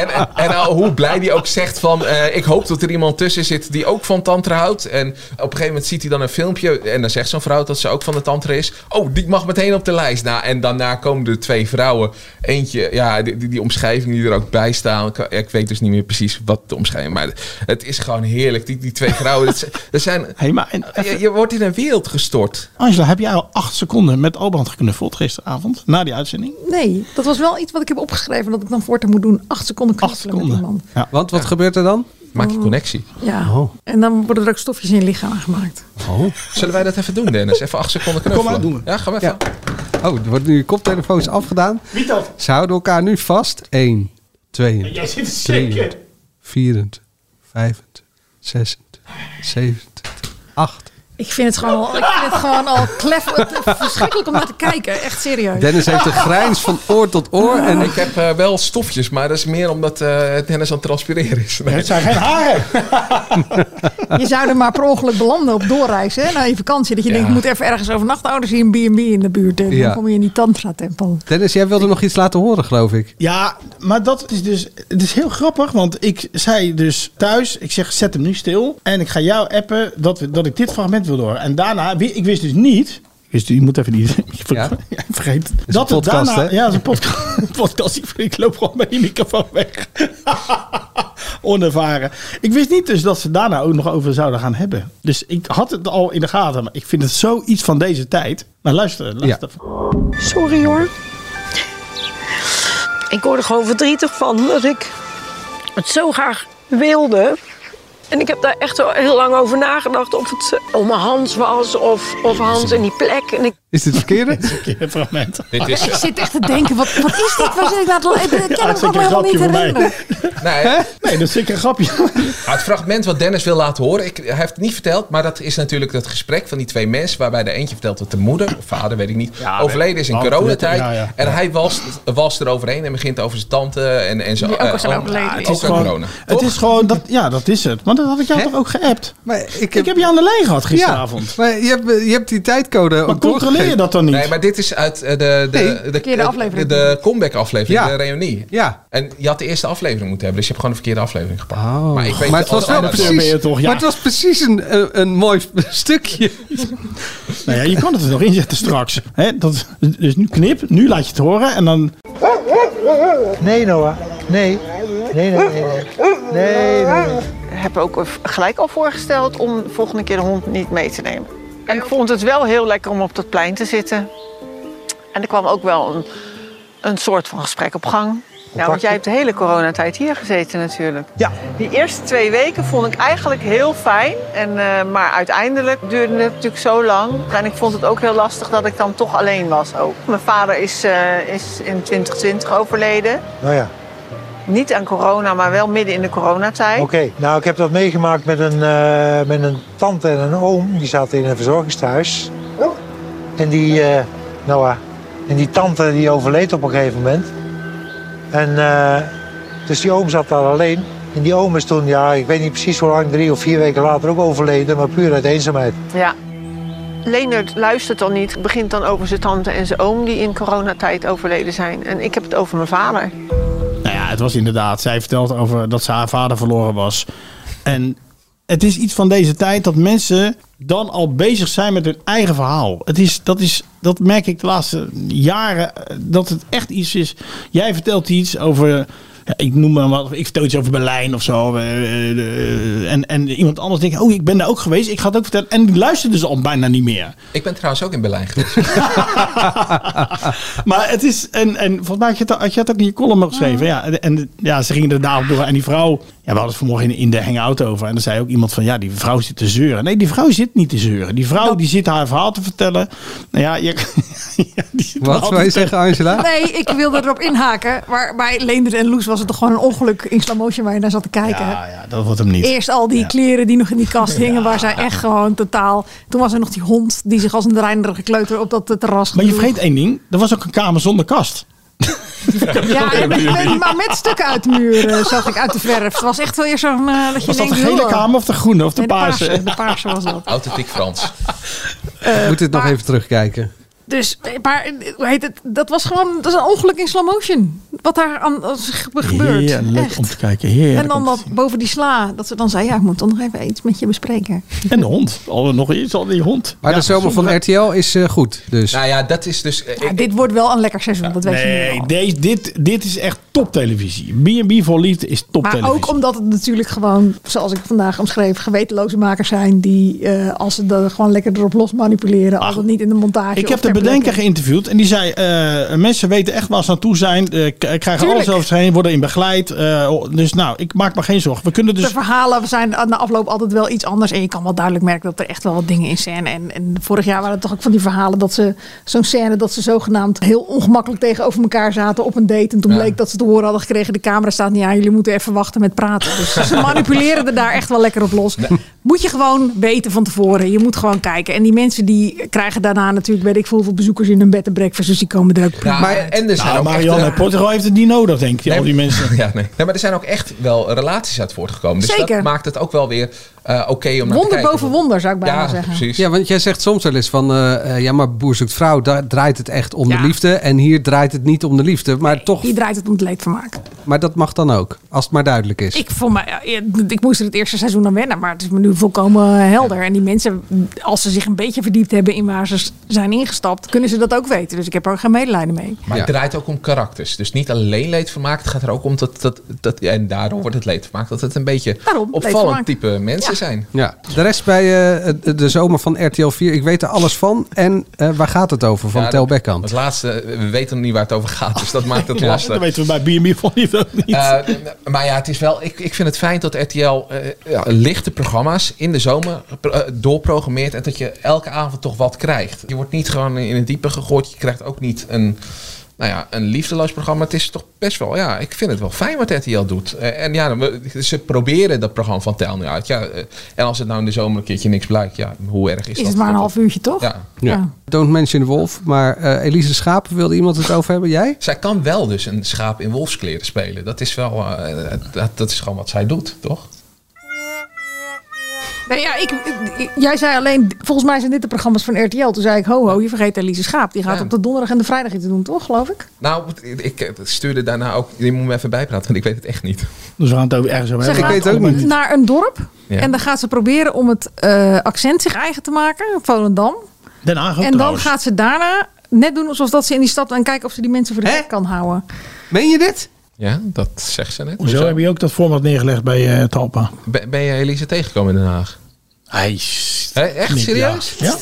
S4: En, en, en nou, hoe blij die ook zegt van... eh, ik hoop dat er iemand tussen zit die ook van tantra houdt. En op een gegeven moment ziet hij dan een filmpje... en dan zegt zo'n vrouw dat ze ook van de tantra is. Oh, die mag meteen op de lijst. Nou, en daarna komen er twee vrouwen. Eentje, ja, die, die, die omschrijving die er ook bij staan. Ik, ik weet dus niet meer precies wat de omschrijving... maar het is gewoon heerlijk. Die, die twee vrouwen, dat zijn... dat zijn- je, je wordt in een wereld gestort.
S2: Angela, heb jij al acht seconden met Alband geknuffeld gisteravond? Na die uitzending?
S5: Nee, dat was wel iets wat ik heb opgeschreven. Dat ik dan voortaan moet doen. Acht seconden knuffelen met iemand.
S3: Want wat gebeurt er dan?
S4: Maak je connectie.
S5: Ja. En dan worden er ook stofjes in je lichaam aangemaakt.
S4: Zullen wij dat even doen, Dennis? Even acht seconden knuffelen.
S3: maar, doen
S4: Ja, gaan we even.
S3: Oh, er worden nu koptelefoons afgedaan.
S2: Wie dat?
S3: Ze houden elkaar nu vast. 1, 2,
S2: Jij zit er
S3: 3,
S2: zeker.
S3: 4, 5, 6, 7, 8.
S5: Ik vind het gewoon al, ik vind het gewoon al klef, het- verschrikkelijk om naar te kijken. Echt serieus.
S3: Dennis heeft een grijns van oor tot oor. En
S4: Ik heb eh, wel stofjes, maar dat is meer omdat eh Dennis aan het transpireren is. Nee.
S2: Het zijn geen haren.
S5: Je zou er maar per ongeluk belanden op doorreis. Hè, naar je vakantie. Dat je
S3: Ja.
S5: denkt, ik moet even ergens overnachten. Oh, dan zie je een B&B in de buurt. En
S3: Ja.
S5: dan kom je in die tantra-tempel.
S3: Dennis, jij wilde nog iets laten horen, geloof ik.
S2: Ja, maar dat is dus. Het is heel grappig, want ik zei dus thuis: ik zeg, zet hem nu stil. En ik ga jou appen dat, we, dat ik dit fragment wil horen. En daarna, wi- ik wist dus niet. Dus je moet even die. Ik ver- ja, ik vergeet. Dat,
S3: een podcast,
S2: daarna,
S3: hè?
S2: Ja, dat is een podcast. podcast ik, ik loop gewoon met die microfoon weg. Onervaren. Ik wist niet dus dat ze daarna ook nog over zouden gaan hebben. Dus ik had het al in de gaten. Maar ik vind het zoiets van deze tijd. Maar luister, luister.
S13: Sorry hoor. Ik word er gewoon verdrietig van dat ik het zo graag wilde. En ik heb daar echt wel heel lang over nagedacht of het eh, om Hans was of, of Hans en die plek. En ik,
S3: Is dit het verkeerde?
S2: verkeerde fragment.
S4: Dit is...
S5: Ik zit echt te denken, wat, wat is dit? Waar zit ik nou te- Ik ik
S2: Ja,
S5: ken hem
S2: dat is een
S5: allemaal helemaal
S2: grapje
S5: niet
S2: voor mij.
S5: herinneren.
S4: Nee,
S2: nee, dat is zeker een grapje.
S4: Nou, het fragment wat Dennis wil laten horen, ik, hij heeft het niet verteld, maar dat is natuurlijk dat gesprek van die twee mensen, waarbij de eentje vertelt dat de moeder, of vader, weet ik niet, overleden is in
S2: Oh,
S4: coronatijd.
S2: ja, ja.
S4: En hij walst, walst eroverheen en begint over zijn tante en, en zo.
S5: Die ook al
S4: eh,
S5: zijn
S4: oom.
S5: overleden.
S4: Ja, het
S2: Ook
S4: is ook
S2: gewoon-
S4: corona.
S2: Het is gewoon, dat, ja, dat is het. Maar dat had ik jou toch ook geappt?
S3: Maar ik,
S2: heb je aan de lijn gehad gisteravond.
S3: Ja, maar je hebt, je hebt die tijdcode ook
S2: Maar controleer je
S3: doorgegeven.
S2: dat dan niet?
S4: Nee, maar dit is uit eh, de, de,
S3: Nee.
S4: de,
S5: Verkeerde aflevering.
S4: de, de comeback aflevering,
S3: Ja.
S4: de reunie.
S3: Ja.
S4: En je had de eerste aflevering moeten hebben, dus je hebt gewoon de verkeerde aflevering gepakt.
S3: Oh.
S4: ik weet
S3: maar het was
S4: altijd
S3: wel
S4: uit-
S2: precies- ben je toch, ja.
S3: maar het was precies een, een, een mooi stukje.
S2: Nou ja, je kan het er nog inzetten straks. Hè, dat, dus nu knip, nu laat je het horen en dan...
S11: Nee, Noah. Nee. Nee, nee, nee. nee. nee, nee, nee.
S13: Ik heb ook gelijk al voorgesteld om de volgende keer de hond niet mee te nemen. En ik vond het wel heel lekker om op dat plein te zitten. En er kwam ook wel een, een soort van gesprek op gang. Ja, want jij hebt de hele coronatijd hier gezeten natuurlijk.
S11: Ja.
S13: Die eerste twee weken vond ik eigenlijk heel fijn. En, eh, maar uiteindelijk duurde het natuurlijk zo lang. En ik vond het ook heel lastig dat ik dan toch alleen was ook. Mijn vader is, eh, is in 2020 overleden.
S11: Nou ja.
S13: Niet aan corona, maar wel midden in de coronatijd.
S11: Oké, nou ik heb dat meegemaakt met een, eh, met een tante en een oom. Die zaten in een verzorgingstehuis. En die, eh, Noah, en die tante die overleed op een gegeven moment. En eh, dus die oom zat daar alleen. En die oom is toen, ja, ik weet niet precies hoe lang, drie of vier weken later ook overleden. Maar puur uit eenzaamheid.
S13: Ja. Leonard luistert dan niet, begint dan over zijn tante en zijn oom die in coronatijd overleden zijn. En ik heb het over mijn vader.
S2: Nou ja, het was inderdaad. Zij vertelt over dat ze haar vader verloren was. En het is iets van deze tijd dat mensen dan al bezig zijn met hun eigen verhaal. Het is, dat, is, dat merk ik de laatste jaren. eh, Dat het echt iets is. Jij vertelt iets over. ja, ik noem maar wat. Ik vertel iets over Berlijn of zo. eh, eh, eh, En, en iemand anders denkt. Oh, ik ben daar ook geweest. Ik ga het ook vertellen. En die luisteren dus al bijna niet meer.
S4: Ik ben trouwens ook in Berlijn geweest.
S2: Maar het is, en, en volgens mij had je, het, had je het ook in je column nog geschreven. Ja, en- en ja, ze gingen er daarop door. En die vrouw, ja, we hadden het vanmorgen in, in de hangout over. En dan zei ook iemand van, ja, die vrouw zit te zeuren. Nee, die vrouw zit niet te zeuren. Die vrouw die zit haar verhaal te vertellen. Nou ja, je, ja, die zit haar
S3: Wat
S2: verhaal
S3: wil je
S2: te
S3: zeggen, Angela?
S5: Nee, ik wilde erop inhaken. Maar bij Leendert en Loes was het toch gewoon een ongeluk in slow motion waar je naar zat te kijken.
S2: vertellen. Ja, ja, dat wordt hem niet.
S5: Eerst al die kleren die nog in die kast hingen, waar zij echt gewoon totaal. Toen was er nog die hond die zich als een dreinerige kleuter op dat eh, terras.
S2: Maar je
S5: gedroeg.
S2: vergeet één ding. Er was ook een kamer zonder kast.
S5: Ja, en met- maar met stukken uit de muren zag ik uit de verf. Het was echt wel eerst zo'n. eh, dat je
S2: Was dat de
S5: denkt,
S2: gele
S5: "Huh."
S2: kamer of de groene of de
S5: Nee, de
S2: paarse?
S5: paarse. De paarse was dat.
S4: Authentiek Frans.
S3: Ik moet dit nog even terugkijken.
S5: Dus, eh, maar eh, hoe heet het? Dat was gewoon. Dat is een ongeluk in slow motion. Wat daar aan als ge- gebeurt.
S2: Heerlijk
S5: Echt.
S2: om te kijken. Heerlijk
S5: En dan
S2: om te
S5: dat boven die sla, dat ze dan zei: Ja, ik moet dan nog even iets met je bespreken.
S2: zien. En de hond. Al, nog iets, al die hond.
S3: Maar
S2: Ja,
S3: de zomer van
S2: sommige-
S3: RTL is eh, goed. Dus.
S4: Nou ja, dat is dus... eh,
S5: Ja, dit wordt wel een lekker seizoen, dat weet je nu
S2: Nee,
S5: al.
S2: deze, dit, dit is echt toptelevisie. B&B voor Liefde is toptelevisie.
S5: Maar ook omdat het natuurlijk gewoon, zoals ik vandaag omschreef, gewetenloze makers zijn die eh, als ze er gewoon lekker erop los manipuleren, al dan niet in de montage.
S2: Ik
S5: of
S2: heb de
S5: ter
S2: bedenker
S5: plekke.
S2: geïnterviewd en die zei: eh, mensen weten echt waar ze naartoe zijn, eh, k- krijgen alles over zich heen, worden in begeleid. eh, dus nou, ik maak me geen zorgen. We kunnen
S5: De
S2: dus.
S5: verhalen zijn na afloop altijd wel iets anders. En je kan wel duidelijk merken dat er echt wel wat dingen in scène. En, en vorig jaar waren het toch ook van die verhalen dat ze zo'n scène dat ze zogenaamd heel ongemakkelijk tegenover elkaar zaten op een date. En toen
S4: Ja.
S5: bleek dat ze te horen hadden gekregen: de camera staat niet aan, jullie moeten even wachten met praten. Dus ze manipuleren er daar echt wel lekker op los. Moet je gewoon weten van tevoren. Je moet gewoon kijken. En die mensen die krijgen daarna natuurlijk, weet ik veel, hoeveel bezoekers in hun bed en breakfast. Dus die komen er ook prima.
S4: ja, en, en er zijn
S2: Nou,
S4: ook echt,
S2: Marianne
S4: eh,
S2: uit Portugal heeft het niet nodig, denk ik.
S4: Nee,
S2: al die
S4: maar-
S2: mensen.
S4: Ja, nee. nee, maar er zijn ook echt wel relaties uit voortgekomen. Dus
S5: Zeker.
S4: dat maakt het ook wel weer eh, oké om naar te
S5: Wonder
S4: kijken.
S5: boven wonder zou ik bijna
S4: Ja,
S5: zeggen.
S4: precies.
S3: Ja, want jij zegt soms wel eens van, eh, eh, ja, maar Boer zoekt vrouw, daar draait het echt om
S5: Ja.
S3: de liefde. En hier draait het niet om de liefde, maar toch,
S5: Die draait het om het leedvermaak.
S3: maar dat mag dan ook, als het maar duidelijk is.
S5: Ik, vond mij, ja, ik moest er het eerste seizoen aan wennen, maar het is me nu volkomen helder. En die mensen, als ze zich een beetje verdiept hebben in waar ze s- zijn ingestapt, kunnen ze dat ook weten. Dus ik heb er ook geen medelijden mee.
S4: Maar het
S3: Ja.
S4: draait ook om karakters. Dus niet alleen leedvermaak. Het gaat er ook om dat... dat, dat en daardoor wordt het leedvermaak. Dat het een beetje
S5: Daarom,
S4: opvallend
S5: leedvermaak.
S4: type mensen te zijn.
S3: Ja. De rest bij eh, de zomer van RTL 4. Ik weet er alles van. En eh, waar gaat het over van
S4: Ja,
S3: Tel
S4: dat-
S3: Bekkant?
S4: Het laatste, we weten nog niet waar het over gaat, dus dat maakt het
S2: Ja,
S4: lastig.
S2: dat weten we bij B&B van niet ook niet.
S4: Eh, maar ja, het is wel, ik, ik vind het fijn dat RTL eh, ja, lichte programma's in de zomer eh, doorprogrammeert. En dat je elke avond toch wat krijgt. Je wordt niet gewoon in het diepe gegooid. Je krijgt ook niet een, nou ja, een liefdeloos programma. Het is toch best wel, ja, ik vind het wel fijn wat RTL doet. Eh, en ja, we- ze proberen dat programma van Tel nu uit. Ja, eh, en als het nou in de zomer een keertje niks blijkt, ja, hoe erg is,
S5: Is
S4: dat?
S5: het maar een half uurtje, toch?
S4: Ja.
S3: Don't mention the wolf. Maar eh, Elise Schaap wilde iemand het over hebben. Jij?
S4: Zij kan wel dus een schaap in wolfskleren spelen. Dat is wel, eh, dat, dat is gewoon wat zij doet, toch?
S5: Nee, ja, ik, ik- jij zei alleen, volgens mij zijn dit de programma's van RTL. Toen zei ik, ho ho, je vergeet Elise Schaap. Die gaat op de donderdag en de vrijdag iets doen, toch, geloof ik?
S4: Nou, ik- ik stuurde daarna ook. Je moet me even bijpraten, want ik weet het echt niet.
S2: Dus we gaan het ook ergens over
S5: Ze
S2: hebben.
S5: gaat naar een dorp
S4: Ja.
S5: en dan gaat ze proberen om het eh, accent zich eigen te maken, Volendam.
S2: Den Haag ook
S5: en dan
S2: trouwens.
S5: gaat ze daarna net doen alsof dat ze in die stad... en kijken of ze die mensen voor de gek kan houden.
S3: Meen je dit?
S4: Ja, dat zegt ze net.
S2: Hoezo heb je ook dat format neergelegd bij eh, Talpa?
S4: Ben, ben je Elise tegengekomen in Den Haag?
S2: Hij
S4: Echt
S2: Niet-
S4: serieus?
S2: Ja. Ja.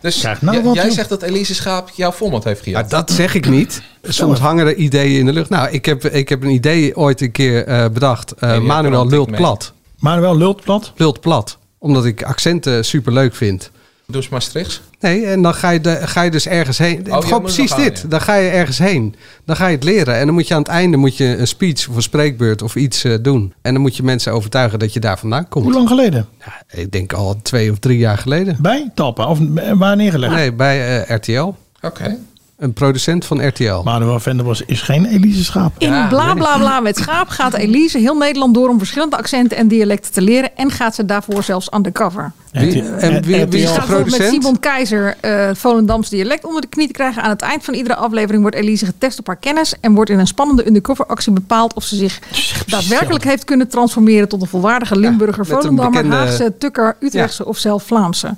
S4: Dus
S2: nou
S4: j-
S2: wat,
S4: jij
S2: joh.
S4: zegt dat Elise Schaap jouw format heeft gejaagd.
S3: dat zeg ik niet. Soms hangen er ideeën in de lucht. Nou, ik heb, ik heb een idee ooit een keer eh, bedacht. Eh,
S4: Nee, die
S3: Manuel
S4: brand ik
S3: lult
S4: mee.
S3: plat.
S2: Manuel lult plat?
S3: Lult plat. Omdat ik accenten super leuk vind.
S4: Dus Maastrichts.
S3: Nee, en dan ga je, de, ga je dus ergens heen.
S4: Oh, je
S3: Gewoon
S4: moet
S3: precies
S4: nog gaan,
S3: dit.
S4: ja.
S3: Dan ga je ergens heen. Dan ga je het leren. En dan moet je aan het einde moet je een speech of een spreekbeurt of iets eh, doen. En dan moet je mensen overtuigen dat je daar vandaan komt.
S2: Hoe lang geleden?
S3: Ik denk al twee of drie jaar geleden.
S2: Bij Talpa? Of eh, waar neergelegd?
S3: Nee, bij eh, RTL.
S4: Oké.
S3: Een producent van RTL.
S2: Manuel Venderbos is geen Elise Schaap.
S5: In bla bla bla met schaap gaat Elise heel Nederland door... om verschillende accenten en dialecten te leren... en gaat ze daarvoor zelfs undercover.
S3: Wie- en wie, wie is
S5: Ze
S3: de
S5: gaat bijvoorbeeld met
S3: producent?
S5: Simon Keizer eh Volendams dialect onder de knie te krijgen. Aan het eind van iedere aflevering wordt Elise getest op haar kennis. En wordt in een spannende undercoveractie bepaald of ze zich daadwerkelijk heeft kunnen transformeren tot een volwaardige Limburger,
S3: met een
S5: Volendammer,
S3: bekende-
S5: Haagse, Tukker, Utrechtse of zelf Vlaamse.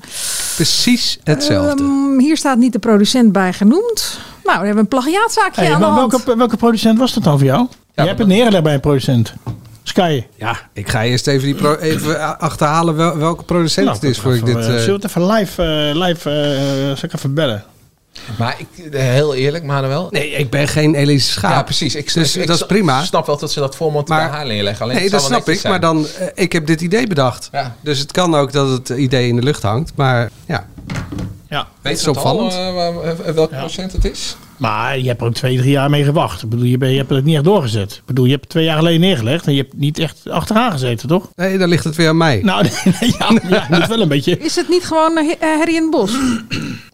S3: Precies hetzelfde.
S5: Ehm, hier staat niet de producent bij genoemd. Nou, we hebben we een plagiaatzaakje
S2: Hey,
S5: aan de
S2: maar
S5: hand.
S2: welke, welke producent was dat dan voor jou? je hebt het neergelegd bij een producent. Sky.
S3: Ja, ik ga eerst even, die pro- even a- achterhalen wel- welke producent
S2: Nou,
S3: het is voor ik dit...
S2: Even, eh,
S3: eh,
S2: Zullen we het even live, eh, live eh, zal ik even bellen?
S4: Maar ik, eh, heel eerlijk, Manuel.
S3: nee, ik ben geen Elise Schaap.
S4: Ja, precies. Ik,
S3: Dus
S4: ik- ik
S3: dat is
S4: sna-
S3: prima.
S4: snap wel dat ze dat format
S3: Maar-
S4: bij haar neerleggen. Alleen
S3: Nee,
S4: het zal
S3: dat snap
S4: wel
S3: ik.
S4: netjes
S3: Maar
S4: zijn.
S3: dan, eh, ik heb dit idee bedacht.
S4: Ja.
S3: Dus het kan ook dat het idee in de lucht hangt. Maar ja,
S2: Ja.
S4: Weet
S3: is
S4: je het al
S3: opvallend.
S4: eh, waar- eh, welke procent het is?
S2: Maar je hebt er ook twee, drie jaar mee gewacht. Ik bedoel, je, ben- je hebt het niet echt doorgezet. Ik bedoel, je hebt het twee jaar geleden neergelegd en je hebt niet echt achteraan gezeten, toch?
S3: nee, dan ligt het weer aan mij.
S2: Nou, nee, ja, maar ja, je moet wel een beetje.
S5: Is het niet gewoon eh, eh, Harry in het Bos?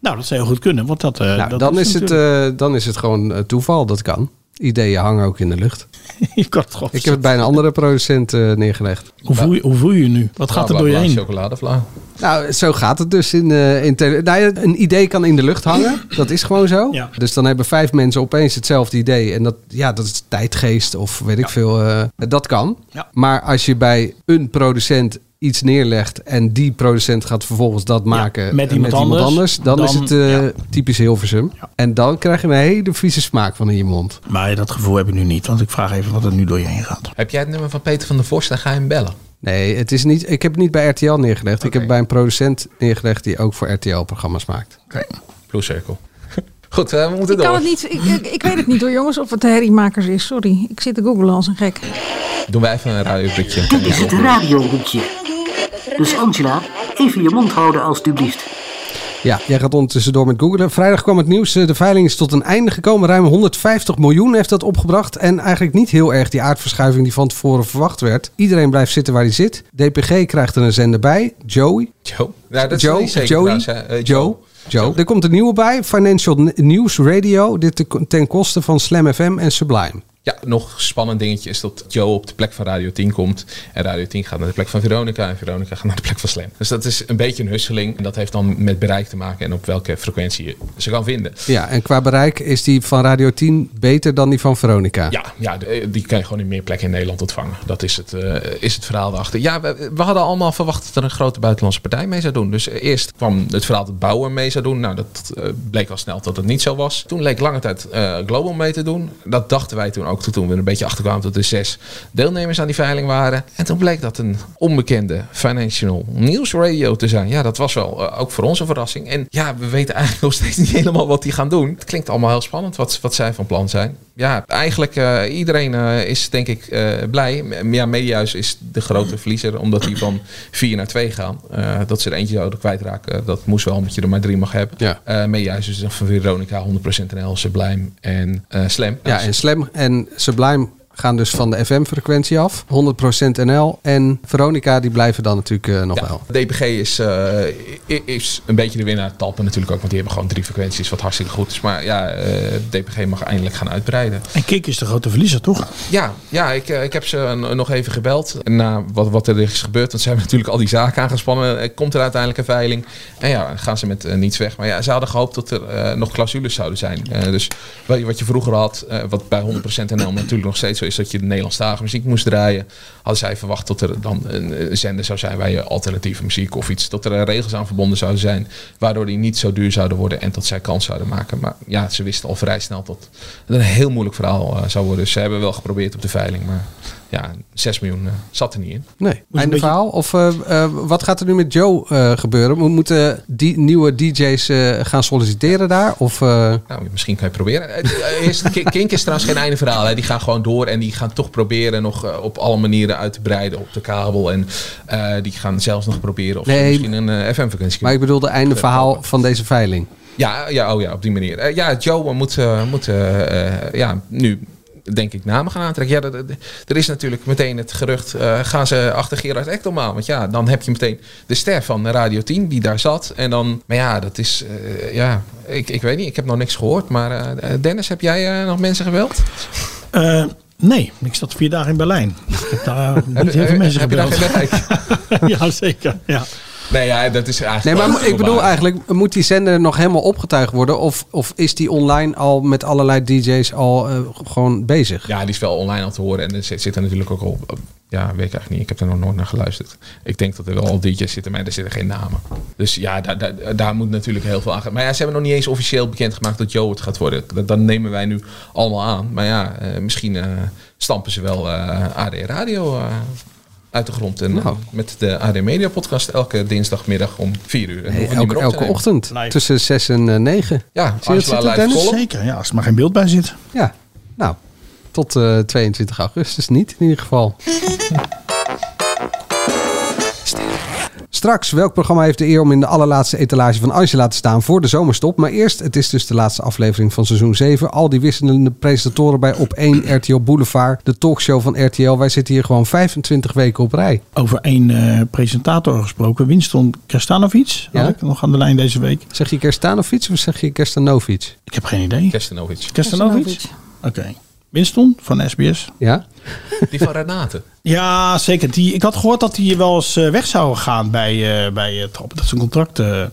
S2: Nou, dat zou heel goed kunnen. Want dat, eh,
S3: Nou,
S2: dat
S3: dan, is het,
S2: natuurlijk-
S3: eh, dan is het gewoon eh, toeval. Dat kan. Ideeën hangen ook in de lucht.
S2: je kan het gewoon
S3: eh, Ik heb het bij een andere producent eh, neergelegd.
S2: hoe, voel je, hoe voel je je nu? Wat gaat er
S4: Bla,
S2: door
S4: bla,
S2: je
S4: bla,
S2: heen?
S4: Chocoladevla.
S3: Nou, zo gaat het dus in, eh, in tele- nou, ja, Een idee kan in de lucht hangen. Dat is gewoon zo.
S2: Ja.
S3: Dus dan hebben vijf mensen opeens hetzelfde idee. En dat, ja, dat is tijdgeest of weet ik veel. eh, dat kan.
S2: Ja.
S3: Maar als je bij een producent iets neerlegt en die producent gaat vervolgens dat maken
S2: met iemand anders,
S3: dan,
S2: dan-
S3: is het eh,
S2: ja.
S3: typisch Hilversum. En dan krijg je een hele vieze smaak van in je mond.
S2: Maar dat gevoel heb ik nu niet, want ik vraag even wat er nu door je heen gaat.
S4: Heb jij het nummer van Peter van der Vorst? Dan ga je hem bellen.
S3: Nee, het is niet, ik heb het niet bij RTL neergelegd. Ik heb het bij een producent neergelegd die ook voor RTL-programma's maakt.
S4: Blue Circle. Goed, eh, we moeten
S5: Ik,
S4: door.
S5: kan het niet, ik, ik, ik weet het niet hoor jongens of het de herriemakers is. Sorry, ik zit te googlen als een gek.
S4: Doen wij even een radiobrikje.
S12: Dit is het radiohoekje. Dus Angela, even je mond houden alstublieft.
S3: Ja, jij gaat ondertussen door met googlen. Vrijdag kwam het nieuws. eh, De veiling is tot een einde gekomen. Ruim 150 miljoen heeft dat opgebracht. En eigenlijk niet heel erg die aardverschuiving die van tevoren verwacht werd. Iedereen blijft zitten waar hij zit. DPG krijgt er een zender bij. Joey.
S4: Joe. Nou, dat
S3: Joe.
S4: is niet zeker
S3: Joey.
S4: trouwens, hè. Eh,
S3: Joe. Joe. Er komt een nieuwe bij. Financial N- News Radio. Dit te- ten koste van Slam FM en Sublime.
S4: Ja, nog spannend dingetje is dat Joe op de plek van Radio 10 komt. En Radio 10 gaat naar de plek van Veronica. En Veronica gaat naar de plek van Slam. Dus dat is een beetje een husseling. En dat heeft dan met bereik te maken en op welke frequentie je ze kan vinden.
S3: Ja, en qua bereik is die van Radio 10 beter dan die van Veronica.
S4: Ja, ja, de- eh, die kan je gewoon in meer plekken in Nederland ontvangen. Dat is het, eh, is het verhaal daarachter. Ja, we, we hadden allemaal verwacht dat er een grote buitenlandse partij mee zou doen. Dus eh, eerst kwam het verhaal dat Bauer mee zou doen. Nou, dat eh, bleek al snel dat het niet zo was. Toen leek lange tijd eh, Global mee te doen. Dat dachten wij toen ook ook toen we een beetje achterkwamen dat er zes deelnemers aan die veiling waren. En toen bleek dat een onbekende Financial News Radio te zijn. Ja, dat was wel eh, ook voor ons een verrassing. En ja, we weten eigenlijk nog steeds niet helemaal wat die gaan doen. Het klinkt allemaal heel spannend wat, wat zij van plan zijn. Ja, eigenlijk eh, iedereen eh, is denk ik eh, blij. M- Ja, Mediahuis is de grote verliezer, omdat die van 4 naar 2 gaan. Eh, dat ze er eentje zouden kwijtraken, dat moest wel, omdat je er maar drie mag hebben. Ja. Mediahuis is dan van Veronica, 100% NL, Sublime en eh Slam.
S3: Ja, en Slam en Sublime gaan dus van de FM-frequentie af. 100% NL. En Veronica, die blijven dan natuurlijk eh, nog wel.
S4: DPG is, eh, i- is een beetje de winnaar. Talpen natuurlijk ook, want die hebben gewoon drie frequenties, wat hartstikke goed is. Maar ja, eh, DPG mag eindelijk gaan uitbreiden.
S2: En Kik is de grote verliezer, toch?
S4: Ja, ja ik, eh, ik heb ze een- nog even gebeld. Na wat, wat er is gebeurd. Want ze hebben natuurlijk al die zaken aangespannen. Eh, Komt er uiteindelijk een veiling? En ja, dan gaan ze met eh, niets weg. Maar ja, ze hadden gehoopt dat er eh, nog clausules zouden zijn. Eh, dus wat, je- wat je vroeger had, eh, wat bij 100% NL natuurlijk nog steeds zo is, dat je de Nederlandstalige muziek moest draaien. Hadden zij verwacht dat er dan een eh, zender zou zijn waar je alternatieve muziek of iets. Dat er eh, regels aan verbonden zouden zijn. Waardoor die niet zo duur zouden worden en dat zij kans zouden maken. Maar ja, ze wisten al vrij snel dat het een heel moeilijk verhaal eh, zou worden. Dus ze hebben wel geprobeerd op de veiling. Maar ja, 6 miljoen eh, zat er niet in.
S3: Nee. Einde verhaal? Of eh, eh, wat gaat er nu met Joe eh, gebeuren? Mo- Moeten die nieuwe DJ's eh, gaan solliciteren daar? Of, eh,
S4: Nou, misschien kan je proberen. Eh, eh, Eerst, Ki- Kink is trouwens geen einde verhaal. Hè. Die gaan gewoon door en die gaan toch proberen nog eh, op alle manieren uit te breiden op de kabel. En eh, die gaan zelfs nog proberen of ze
S3: Nee.
S4: misschien een eh, FM-vakantie
S3: Maar ik bedoel de einde verhaal van deze veiling.
S4: Ja, ja, oh ja, op die manier. Eh, ja, Joe eh, moet, eh, moet eh, eh, ja, nu denk ik namen gaan aantrekken. Ja, dat- dat- er is natuurlijk meteen het gerucht, eh, gaan ze achter Gerard Ekdom aan? Want ja, dan heb je meteen de ster van Radio 10 die daar zat. En dan, maar ja, dat is, eh, ja, ik, ik weet niet, ik heb nog niks gehoord. Maar eh, Dennis, heb jij eh, nog mensen geweld?
S2: Eh, nee, ik zat vier dagen in Berlijn. Ik heb daar niet heel veel
S4: heb- eh,
S2: mensen
S4: heb je daar
S2: gebeld. ja, zeker. Ja.
S4: Nee, ja, dat is
S3: Nee,
S4: eigenlijk...
S3: maar
S4: wel
S3: mo- ik bedoel
S4: globaal.
S3: eigenlijk, moet die zender nog helemaal opgetuigd worden? Of, of is die online al met allerlei DJ's al eh, gewoon bezig?
S4: Ja, die is wel online al te horen. En er zit, zit er natuurlijk ook al... Ja, weet ik eigenlijk niet. Ik heb er nog nooit naar geluisterd. Ik denk dat er wel al DJ's zitten, maar er zitten geen namen. Dus ja, daar, daar, daar moet natuurlijk heel veel aan gaan. Maar ja, ze hebben nog niet eens officieel bekendgemaakt dat Joe het gaat worden. Dat, dat nemen wij nu allemaal aan. Maar ja, eh, misschien eh, stampen ze wel eh, AD Radio eh, uit de grond. En
S3: Nou.
S4: eh, met de AD Media podcast elke dinsdagmiddag om 4 uur.
S3: Nee,
S4: En hoeven niet
S3: elke
S4: meer op te
S3: elke
S4: nemen.
S3: ochtend tussen 6 en eh, 9.
S4: Ja, Angela live column.
S2: Zeker, ja, als er maar geen beeld bij zit.
S3: Ja, nou, tot eh, 22 augustus niet in ieder geval. Straks, welk programma heeft de eer om in de allerlaatste etalage van Angela te staan voor de zomerstop? Maar eerst, het is dus de laatste aflevering van seizoen 7. Al die wisselende presentatoren bij Op 1 RTL Boulevard, de talkshow van RTL. Wij zitten hier gewoon 25 weken op rij.
S2: Over één eh, presentator gesproken, Winston Kerstanovic, had
S3: Ja?
S2: ik nog aan de lijn deze week.
S3: Zeg je Kerstanovic of zeg je Kerstanovic?
S2: Ik heb geen idee.
S4: Kerstanovic.
S2: Kerstanovic? Oké. Winston van SBS.
S3: Ja?
S4: Die van Renate.
S2: Ja, zeker. Die, ik had gehoord dat hij wel eens eh, weg zou gaan bij, eh bij eh, Trapp. Dat zijn contract eh,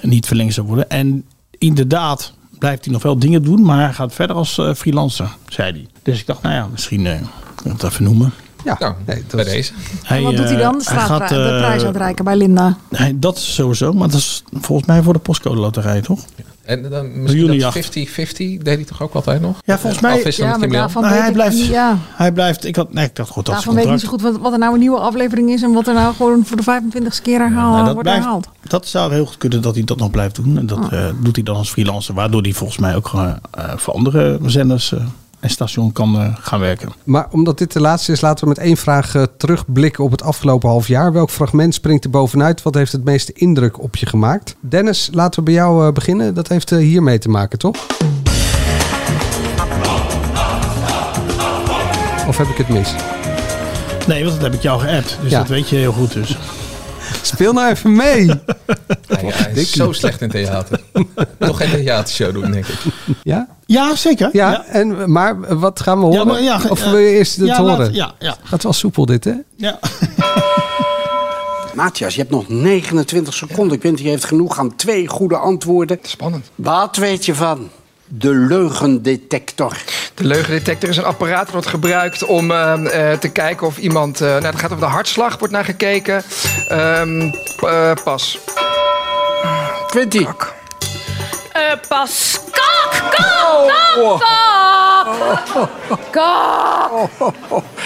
S2: niet verlengd zou worden. En inderdaad blijft hij nog wel dingen doen, maar hij gaat verder als eh, freelancer, zei hij. Dus ik dacht, nou ja, misschien eh, kan ik het even noemen.
S3: Ja,
S4: Nou, bij deze.
S5: En wat doet hij dan? De,
S2: Hij gaat,
S5: straatpra- de
S2: eh,
S5: prijs uitreiken bij Linda.
S2: hij- dat is sowieso, maar dat is volgens mij voor de postcode loterij, toch?
S4: En dan
S2: Jullie
S4: misschien dat
S2: jacht.
S4: 50-50 deed hij toch ook altijd nog?
S2: Ja, volgens mij...
S4: Of is dat
S5: Ja,
S4: met
S5: maar
S4: Kim Leon?
S5: daarvan
S2: Nou,
S5: weet
S2: hij,
S5: ik
S2: blijft,
S5: niet, ja.
S2: hij blijft... Ik had, nee, ik dacht, goed, dat is
S5: Daarvan weet ik niet
S2: contract.
S5: zo goed wat, wat er nou een nieuwe aflevering is en wat er nou gewoon voor de 25ste keer herhaal,
S2: Nou,
S5: wordt
S2: blijft-
S5: herhaald.
S2: dat zou heel goed kunnen dat hij dat nog blijft doen. En dat eh, doet hij dan als freelancer. Waardoor hij volgens mij ook eh, eh, voor andere zenders eh, en station kan eh, gaan werken.
S3: Maar omdat dit de laatste is, laten we met één vraag eh, terugblikken op het afgelopen half jaar. Welk fragment springt er bovenuit? Wat heeft het meeste indruk op je gemaakt? Dennis, laten we bij jou eh, beginnen. Dat heeft eh, hiermee te maken, toch? Of heb ik het mis?
S2: Nee, want dat heb ik jou geappt. Dus
S3: Ja.
S2: dat weet je heel goed dus.
S3: Speel nou even mee.
S4: Hij, Nou hij is zo slecht in theater. Toch geen theatershow doen, denk ik.
S3: Ja?
S2: Ja, zeker.
S3: Ja, En, maar eh, wat gaan we horen?
S2: Ja, maar ja,
S3: of
S2: ja.
S3: wil je eerst het
S2: Ja, laat-
S3: horen?
S2: ja, ja.
S3: Gaat wel soepel dit, hè?
S12: Matthias, je hebt nog 29 seconden. Ik vind, je heeft genoeg aan twee goede antwoorden. Spannend. Wat weet je van de leugendetector?
S14: De leugendetector is een apparaat dat wordt gebruikt om eh, eh, te kijken of iemand... eh nou, het gaat over de hartslag, wordt naar gekeken. Ehm, p- eh, pas.
S12: Quinty.
S15: Eh, pas. Kak, kak, kak,
S14: Oh.
S15: kak. Kak!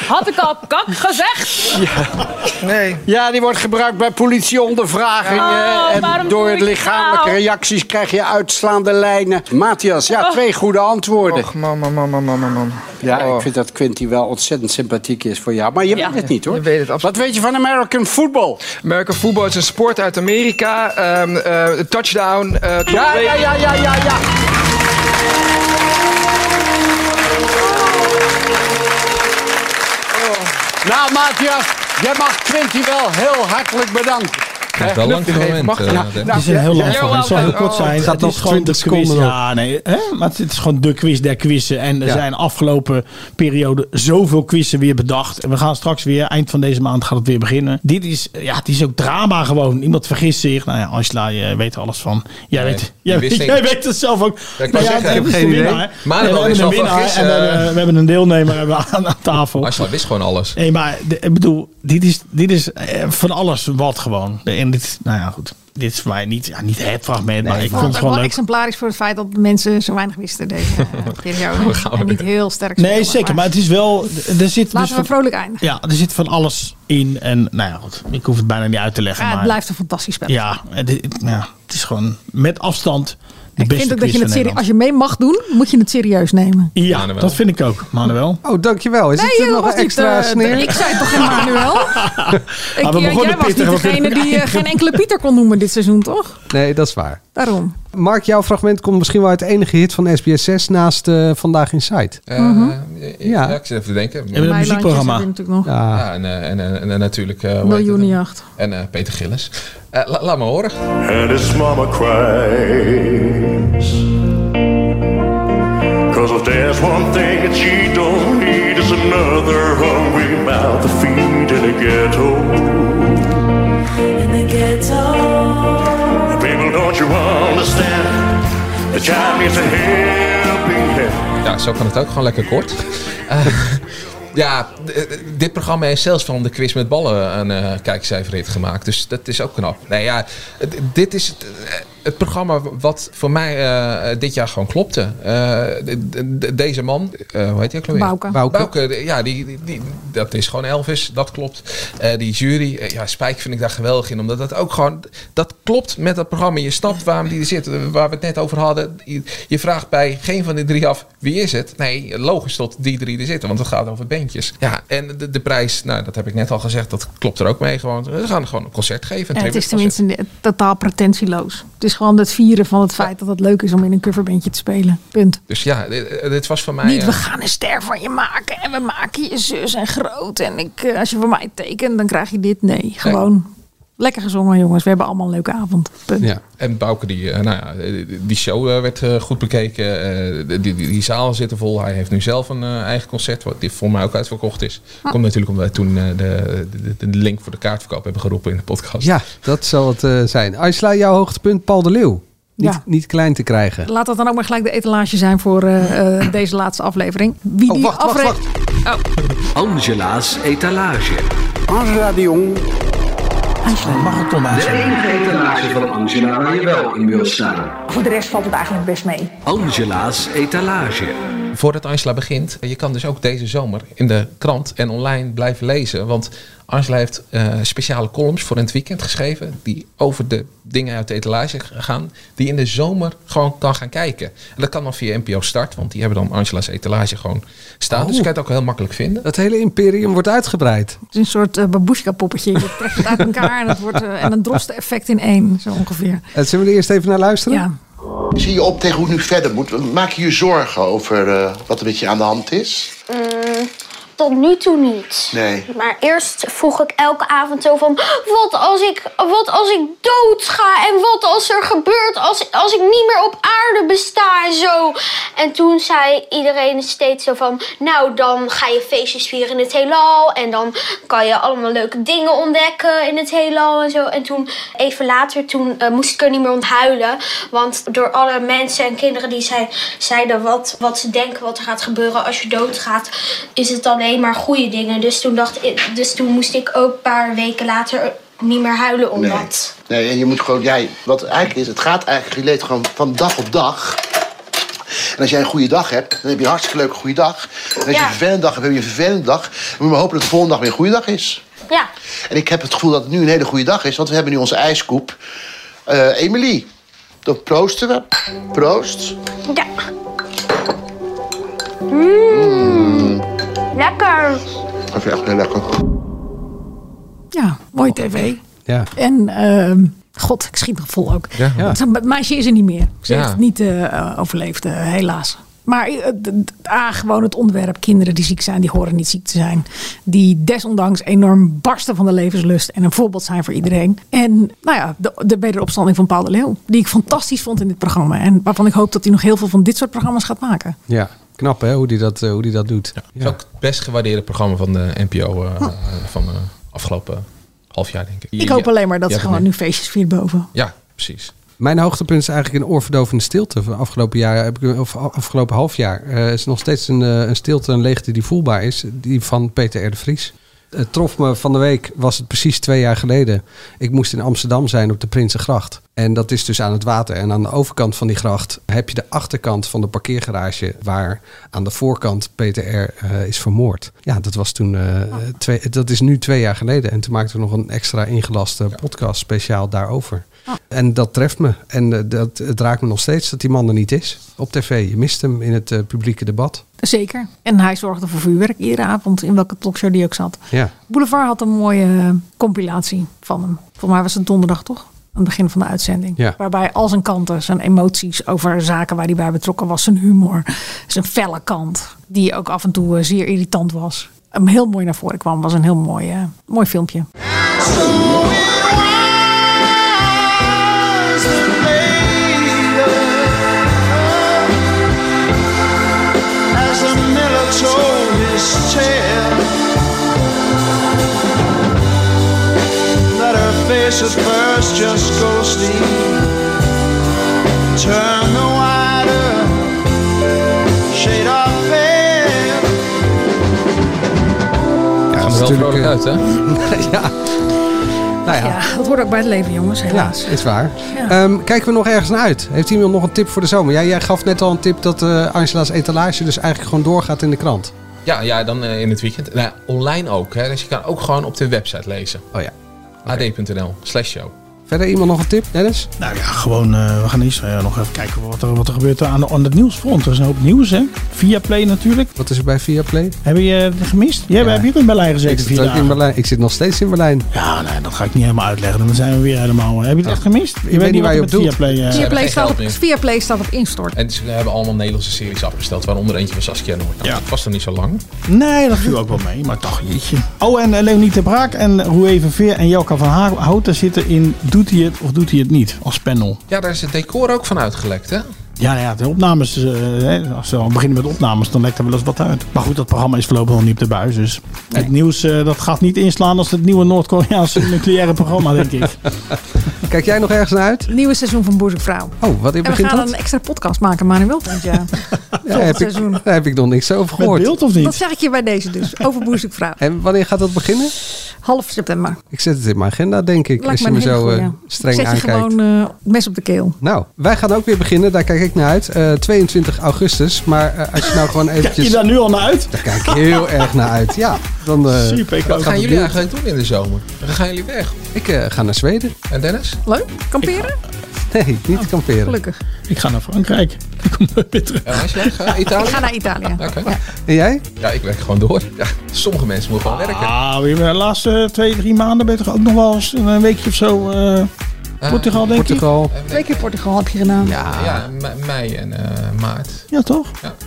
S15: Had ik al kak gezegd?
S12: Ja. Nee. ja, die wordt gebruikt bij politieondervragingen.
S15: Oh,
S12: en
S15: waarom
S12: door
S15: doe
S12: het
S15: ik
S12: lichamelijke
S15: nou? Oh.
S12: reacties krijg je uitslaande lijnen. Matthias, ja, twee goede antwoorden. Och,
S14: mama, mama, mama, mama.
S12: Ja,
S14: oh.
S12: ik vind dat Quinty wel ontzettend sympathiek is voor jou. Maar je
S14: Ja.
S12: weet het niet, hoor.
S14: Je weet het absoluut.
S12: Wat weet je van American football?
S14: American football is een sport uit Amerika. Ehm, eh, touchdown. eh, Tom
S12: Ja,
S14: Brady.
S12: ja, ja, ja, ja, ja. Nou, Matthias, jij mag Quinty wel heel hartelijk
S4: is
S12: bedanken. Hè?
S4: wel lang
S12: Lucht
S4: moment,
S12: mag-
S4: eh,
S12: ja,
S4: denk ik.
S12: nou,
S2: Het is een heel
S12: ja,
S2: lang
S12: ja,
S2: verhaal. Het zal heel kort zijn.
S3: het gaat nog
S2: is gewoon
S3: 20
S2: de quiz.
S3: seconden
S2: Ja, nee. Hè? Maar het is gewoon de quiz der quizzen. En er
S3: Ja.
S2: zijn afgelopen periode zoveel quizzen weer bedacht. En we gaan straks weer, eind van deze maand gaat het weer beginnen. Dit is, ja, het is ook drama gewoon. Iemand vergist zich. Nou ja, Angela, je weet er alles van. Jij,
S4: Nee,
S2: weet,
S4: je
S2: jij,
S4: wist
S2: weet,
S4: niks.
S2: jij weet het zelf ook.
S4: Ja, ik wou zeggen, ik
S2: dat
S4: heb
S2: is de
S4: geen idee.
S2: winnaar.
S4: Maar
S2: Nee,
S4: wel
S2: we
S4: is
S2: hebben een
S4: wel van
S2: winnaar en we
S4: gisteren.
S2: hebben, we hebben een deelnemer hebben we aan, aan tafel.
S4: Angela wist gewoon alles.
S2: Nee, maar de- ik bedoel, dit is, dit is eh, van alles wat gewoon. En dit, nou ja, goed. Dit is voor mij niet, ja, niet het fragment, maar ik
S5: vond
S2: vond het
S5: ook
S2: gewoon
S5: wel
S2: leuk.
S5: exemplarisch voor het feit dat mensen zo weinig wisten deze eh,
S2: We
S5: periode.
S2: gaan
S5: en
S2: weer.
S5: niet heel sterk
S2: Nee,
S5: speelden,
S2: zeker. Maar het is wel, d- er zit dus
S5: Laten we
S2: van,
S5: vrolijk eindigen.
S2: ja, er zit van alles in. En nou ja, goed. Ik hoef het bijna niet uit te leggen.
S5: Ja, het
S2: maar,
S5: blijft een fantastisch spel.
S2: ja, het, het- ja, het is gewoon met afstand de
S5: ik
S2: beste
S5: vind ook dat
S2: quiz
S5: je het
S2: van
S5: serie, als
S2: Nederland.
S5: je mee mag doen, moet je het serieus nemen.
S2: Ja, dat vind ik ook, Manuel.
S3: Oh, dankjewel. Is
S5: Nee,
S3: het er
S5: dat
S3: nog
S5: was
S3: een
S5: niet,
S3: extra
S5: eh,
S3: sneer?
S5: ik zei toch geen Manuel? Ik,
S3: we
S5: eh, jij
S3: begonnen
S5: was niet
S3: pittig, want
S5: degene
S3: dit-
S5: die eh, geen enkele Pieter kon noemen dit seizoen, toch?
S3: Nee, dat is waar.
S5: Daarom.
S3: Mark, jouw fragment komt misschien wel uit de enige hit van SBS6 naast eh, Vandaag in Sight.
S4: Eh, ja. ik zit even te denken.
S3: een Meilandjes muziekprogramma.
S5: hebben we natuurlijk nog.
S4: Ja, en, eh, en, en, en, en natuurlijk... eh, hoe heet het?
S5: Miljoenenjacht.
S4: En eh, Peter Gillis. Eh, la- laat me horen.
S16: And his mama cries. Cause if there's one thing that she don't need is another hungry mouth to feed in a ghetto. In the ghetto. People, don't you understand? The child needs a helping hand.
S4: Ja, zo kan het ook. Gewoon lekker kort. Eh, ja, d- d- dit programma heeft zelfs van de quiz met ballen een eh kijkcijferrit gemaakt. Dus dat is ook knap. Nee, ja, d- dit is het, eh, het programma wat voor mij eh, dit jaar gewoon klopte. Eh, d- d- d- deze man, eh, hoe heet hij ook alweer?
S5: Bouke.
S4: Bouke. Bouke, ja, die, die, die- dat is gewoon Elvis. Dat klopt. Eh, die jury, eh, ja, Spijk vind ik daar geweldig in. Omdat dat ook gewoon, dat klopt met dat programma. Je snapt waarom die er zit. eh, Waar we het net over hadden. Je, je vraagt bij geen van de drie af, wie is het? Nee, logisch dat die drie er zitten. Want het gaat over bandjes. Ja, en de, de prijs, nou, dat heb ik net al gezegd. Dat klopt er ook mee gewoon. Ze gaan gewoon een concert geven.
S5: En
S4: Een
S5: het is
S4: tribute
S5: tenminste ne- totaal pretentieloos. Het is gewoon het vieren van het feit dat het leuk is om in een coverbandje te spelen. Punt.
S4: concert. Dus ja, dit, dit was
S12: Ah,
S4: voor mij...
S5: Niet,
S4: eh,
S5: we gaan een ster van je maken en we maken je zus en groot. En ik, eh, als je voor mij tekent, dan krijg je dit. Nee, gewoon lekker gezongen, jongens. We hebben allemaal een leuke avond. Punt.
S3: Ja.
S4: En Bouke, die, eh, nou ja, eh, die show eh, werd eh, goed bekeken. Eh, Die, die, die zaal zitten vol. Hij heeft nu zelf een eh, eigen concert, wat die voor mij ook uitverkocht is.
S3: Ah.
S4: Komt natuurlijk omdat wij toen eh, de, de, de link voor de kaartverkoop hebben geroepen in de podcast.
S3: Ja, dat zal het eh, zijn. Aisla, jouw hoogtepunt, Paul de Leeuw. Niet,
S5: Ja.
S3: niet klein te krijgen.
S5: Laat dat dan ook maar gelijk de etalage zijn voor eh, eh, deze laatste aflevering. Wie die
S12: Oh, wacht, wacht,
S5: afre-
S7: Angela's etalage.
S12: Angela de Jong.
S7: De enige etalage van Angela waar je wel in wilt staan.
S10: Voor de rest valt het eigenlijk best mee.
S7: Angela's etalage.
S4: Voordat Angela begint, je kan dus ook deze zomer in de krant en online blijven lezen. Want Angela heeft eh, speciale columns voor in het weekend geschreven. Die over de dingen uit de etalage gaan. Die je in de zomer gewoon kan gaan kijken. En dat kan dan via NPO Start, want die hebben dan Angela's etalage gewoon staan.
S5: Oh.
S4: Dus je kan het ook heel makkelijk vinden.
S3: Dat hele imperium wordt uitgebreid.
S5: Het is een soort eh, babushka-poppetje. Je trekt het uit elkaar en, het wordt, eh, en een droste-effect in één, zo ongeveer.
S3: Eh, Zullen we er eerst even naar luisteren?
S5: Ja.
S17: Zie je op tegen hoe het nu verder moet? Maak je je zorgen over eh, wat er met je aan de hand is?
S18: Mm, tot nu toe niet.
S17: Nee.
S18: Maar eerst vroeg ik elke avond zo van... Wat als ik, wat als ik dood ga? En wat als er gebeurt als, als ik niet meer op aarde besta en zo? En toen zei iedereen steeds zo van... Nou, dan ga je feestjes vieren in het heelal. En dan kan je allemaal leuke dingen ontdekken in het heelal en zo. En toen, even later, toen eh, moest ik er niet meer om huilen. Want door alle mensen en kinderen die zei, zeiden wat, wat ze denken wat er gaat gebeuren als je doodgaat, is het alleen maar goede dingen. Dus toen, dacht ik, dus toen moest ik ook een paar weken later niet meer huilen om
S17: nee.
S18: dat.
S17: Nee, en je moet gewoon, jij, wat eigenlijk is, het gaat eigenlijk, je leeft gewoon van dag op dag. En als jij een goede dag hebt, dan heb je een hartstikke leuke goede dag. En als je
S18: Ja.
S17: een vervelende dag hebt, heb je een vervelende dag. Dan moet je maar hopen dat de volgende dag weer een goede dag is.
S18: Ja.
S17: En ik heb het gevoel dat het nu een hele goede dag is, want we hebben nu onze ijskoep. Eh Emily, dan proosten we. Proost.
S18: Ja. Mm. Lekker.
S17: Dat vind ik echt heel lekker.
S5: Ja, mooi tv.
S3: Ja.
S5: En ehm, god, ik schiet nog vol ook.
S3: Ja.
S5: Het is- Het meisje is er niet meer. Ze
S3: Ja.
S5: heeft het niet eh, overleefd, eh, helaas. Maar eh, d- d- A, gewoon het onderwerp. Kinderen die ziek zijn, die horen niet ziek te zijn. Die desondanks enorm barsten van de levenslust. En een voorbeeld zijn voor iedereen. En nou ja, de, de wederopstanding van Paul de Leeuw. Die ik fantastisch vond in dit programma. En waarvan ik hoop dat hij nog heel veel van dit soort programma's gaat maken.
S3: Ja, knap hè, hoe die dat, eh, hoe die dat doet.
S4: Het is ook het best gewaardeerde programma van de NPO eh, van de afgelopen half jaar, denk ik.
S5: Oh. Ik hoop alleen maar dat
S4: Ja,
S5: ze gewoon
S4: nee.
S5: nu feestjes viert boven.
S4: Ja, precies.
S3: Mijn hoogtepunt is eigenlijk een oorverdovende stilte van afgelopen jaar, heb ik- of afgelopen half jaar. Eh, is nog steeds een, eh, een stilte, een leegte die voelbaar is, die van Peter R. de Vries. Het trof me van de week, was het precies twee jaar geleden. Ik moest in Amsterdam zijn op de Prinsengracht. En dat is dus aan het water. En aan de overkant van die gracht heb je de achterkant van de parkeergarage, waar aan de voorkant Peter R. eh, is vermoord. Ja, dat was toen. eh, twee, dat is nu twee jaar geleden. En toen maakten we nog een extra ingelaste podcast speciaal daarover. Ah. En dat treft me. En eh, dat, het raakt me nog steeds dat die man er niet is. Op tv. Je mist hem in het eh, publieke debat.
S5: Zeker. En hij zorgde voor vuurwerk iedere avond. In welke talkshow die ook zat.
S3: Ja.
S5: Boulevard had een mooie eh, compilatie van hem. Volgens mij was het donderdag toch? Aan het begin van de uitzending.
S3: Ja.
S5: Waarbij al zijn kanten, zijn emoties over zaken waar hij bij betrokken was, zijn humor, zijn felle kant, die ook af en toe eh, zeer irritant was, hem heel mooi naar voren kwam. Was een heel mooi, eh, mooi filmpje.
S16: As the miller told his tale, let her face at first just ghostly turn the wider shade of veil.
S3: Ja,
S4: Gaan
S3: dat
S4: we
S3: is
S4: wel
S3: natuurlijk, eh,
S4: vrolijk uit, hè?
S3: ja. Nou ja.
S5: Ja, dat hoort ook bij het leven, jongens.
S3: Ja,
S5: Helaas.
S3: is waar.
S5: Ja.
S3: Ehm, kijken we nog ergens naar uit? Heeft iemand nog een tip voor de zomer? Jij, jij gaf net al een tip dat eh, Angela's etalage dus eigenlijk gewoon doorgaat in de krant.
S4: Ja, ja dan eh, in het weekend. Nou, online ook, hè. Dus je kan ook gewoon op de website lezen.
S3: Oh ja.
S4: ad.nl slash show.
S3: Verder iemand nog een tip, Dennis?
S2: Nou ja, gewoon, eh, we gaan eerst eh, nog even kijken wat er, wat er gebeurt aan, aan het nieuwsfront. Er is een hoop nieuws, hè? Via Play natuurlijk.
S3: Wat is er bij Viaplay?
S2: Heb je eh, het gemist? Jij hebt hier in Berlijn
S3: Ik
S2: gezeten
S3: zit,
S2: vier
S3: ook in
S2: dagen.
S3: Berlijn. ik zit nog steeds in Berlijn.
S2: Ja, nee, dat ga ik niet helemaal uitleggen. Dan zijn we weer helemaal... eh, Heb je het echt gemist?
S3: weet niet waar je op doelt.
S2: Via Play, eh,
S4: Ze hebben
S5: Viaplay
S4: geen
S5: staat,
S4: geld
S5: op,
S4: meer.
S5: Viaplay staat op instort.
S4: En ze hebben allemaal Nederlandse series afgesteld, waaronder eentje van Saskia Noord. Ja. Het was er niet zo lang.
S2: Nee, dat viel ook wel mee, maar toch jeetje. Oh, en eh, Leonie de Braak en Roué van Veer en Jelka van Haar- Houten zitten in Doet hij het of doet hij het niet als panel.
S4: Ja, daar is het decor ook van uitgelekt, hè?
S2: Ja, nou ja, de opnames, eh, hè, als we al beginnen met opnames, dan lekt er wel eens wat uit. Maar goed, dat programma is voorlopig nog niet op de buis. Dus het nieuws eh, dat gaat niet inslaan als het nieuwe Noord-Koreaanse nucleaire programma, denk ik.
S3: Kijk jij nog ergens naar uit?
S5: Nieuwe seizoen van Boezekvrouw.
S3: Oh, wat
S5: En we
S3: begint
S5: gaan
S3: dat?
S5: een extra podcast maken, Manuel. Ja.
S3: Ja, heb ik,
S5: seizoen.
S3: daar heb ik nog niks over gehoord.
S2: beeld of
S5: Dat zeg ik je bij deze dus. Over Boezekvrouw.
S3: En wanneer gaat dat beginnen?
S5: Half september.
S3: Ik zet het in mijn agenda, denk ik. als
S5: Lijkt
S3: je
S5: me
S3: me
S5: een hele
S3: zo eh,
S5: goeie.
S3: streng
S5: Zet je
S3: aankijkt.
S5: gewoon eh, mes op de keel.
S3: Nou, wij gaan ook weer beginnen. Daar kijk ik naar uit. Eh, 22 augustus. Maar eh, als je nou gewoon eventjes...
S2: Kijk je daar nu al naar uit?
S3: Daar kijk ik heel erg naar uit. Ja, dan... eh,
S2: Super, ik
S3: gaat
S4: Wat
S3: het
S4: gaan jullie
S3: doen.
S4: eigenlijk doen in de zomer? Dan gaan jullie weg.
S3: Ik eh, ga naar Zweden.
S4: En Dennis?
S5: Leuk. Kamperen?
S3: Nee, niet kamperen.
S5: Oh, Gelukkig.
S2: Ik ga naar Frankrijk. Ik kom nooit meer terug.
S4: Ja, als jij gaat, Italië?
S5: Ik ga naar Italië. Ja.
S3: En jij?
S4: Ja, ik werk gewoon door. Ja, sommige mensen moeten gewoon werken.
S2: Ah, weer de laatste twee, drie maanden ben je toch ook nog wel eens een weekje of zo... eh, Portugal, denk
S3: Portugal. Eh,
S5: Twee keer Portugal heb je gedaan.
S4: Ja, me- mei en eh, maart.
S2: Ja, toch?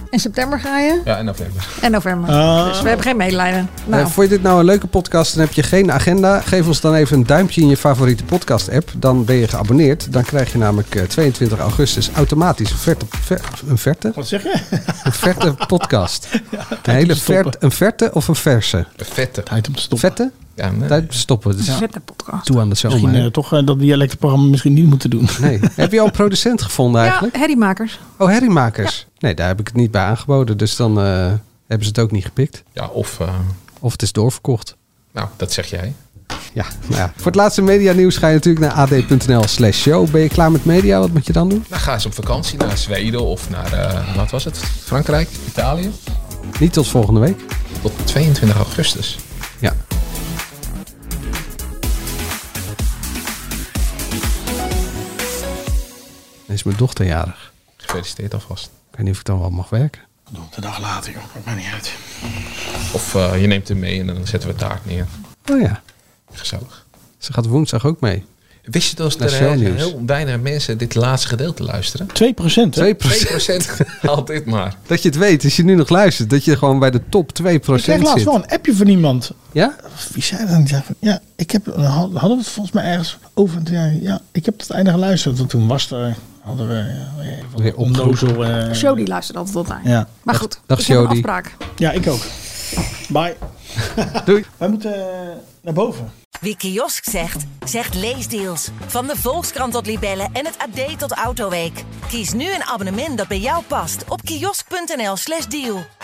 S5: In september ga je.
S4: Ja, en november.
S5: En november.
S3: Ah.
S5: Dus we hebben geen medelijden. Nou,
S3: Eh, vond je dit nou een leuke podcast en heb je geen agenda? Geef ons dan even een duimpje in je favoriete podcast-app. Dan ben je geabonneerd. Dan krijg je namelijk eh, 22 augustus automatisch een verte... ver- een verte?
S2: Wat zeg je?
S3: Een verte podcast. een
S2: om
S3: hele
S2: te stoppen.
S3: verte, een verte of een verse?
S4: Vette.
S2: Tijd om te stoppen.
S3: Vette?
S4: Ja,
S3: Tijd om te stoppen. Dus
S5: Ja. Vette podcast.
S3: Toe aan de zomer.
S2: Misschien
S3: hè.
S2: eh, toch eh, dat dialectenprogramma misschien niet moeten doen.
S3: Nee. Heb je al een producent gevonden
S5: ja,
S3: eigenlijk?
S5: herriemakers.
S3: Oh, herriemakers. Nee, daar heb ik het niet bij aangeboden. Dus dan eh, hebben ze het ook niet gepikt.
S4: Ja, of... eh,
S3: Of het is doorverkocht.
S4: nou, dat zeg jij.
S3: Ja, nou ja. Voor het laatste medianieuws ga je natuurlijk naar ad.nl slash show. Ben je klaar met media? Wat moet je dan doen?
S4: Dan gaan ze op vakantie naar Zweden of naar, eh, wat was het? Frankrijk, Italië.
S3: Niet tot volgende week.
S4: Tot 22 augustus.
S3: Ja. Dan is mijn dochter jarig.
S4: Gefeliciteerd alvast.
S3: Ik weet niet of ik dan wel mag werken.
S2: De dag later, joh. Maakt mij niet uit.
S4: Of eh, je neemt hem mee en dan zetten we taart neer.
S3: Oh ja.
S4: Gezellig.
S3: Ze gaat woensdag ook mee.
S4: Wist je dat
S3: Naar
S4: er heel,
S3: shownieuws.
S4: heel weinig mensen dit laatste gedeelte luisteren?
S2: 2 procent,
S3: 2
S4: Haal dit maar.
S3: Dat je het weet, als je nu nog luistert, dat je gewoon bij de top 2%
S2: Ik kreeg laatst
S3: zit.
S2: wel een appje van iemand.
S3: Ja?
S2: Wie zei dat? Ik zei van, ja, ik heb, hadden we het volgens mij ergens over. En toen zei hij, Ja, ik heb tot het einde geluisterd. Want toen was er, hadden we eh, ja, weer van
S3: Weer
S2: onnozel. eh,
S5: Jody luistert altijd tot mij.
S2: Ja.
S5: Maar
S2: Dag-
S5: goed,
S2: dag
S5: ik heb een
S2: Jody.
S5: afspraak.
S2: ja, ik ook. Bye.
S3: Doei.
S2: Wij moeten eh, naar boven.
S1: Wie kiosk zegt, zegt leesdeals. Van de Volkskrant tot Libellen en het AD tot Autoweek. Kies nu een abonnement dat bij jou past op kiosk.nl/slash deal.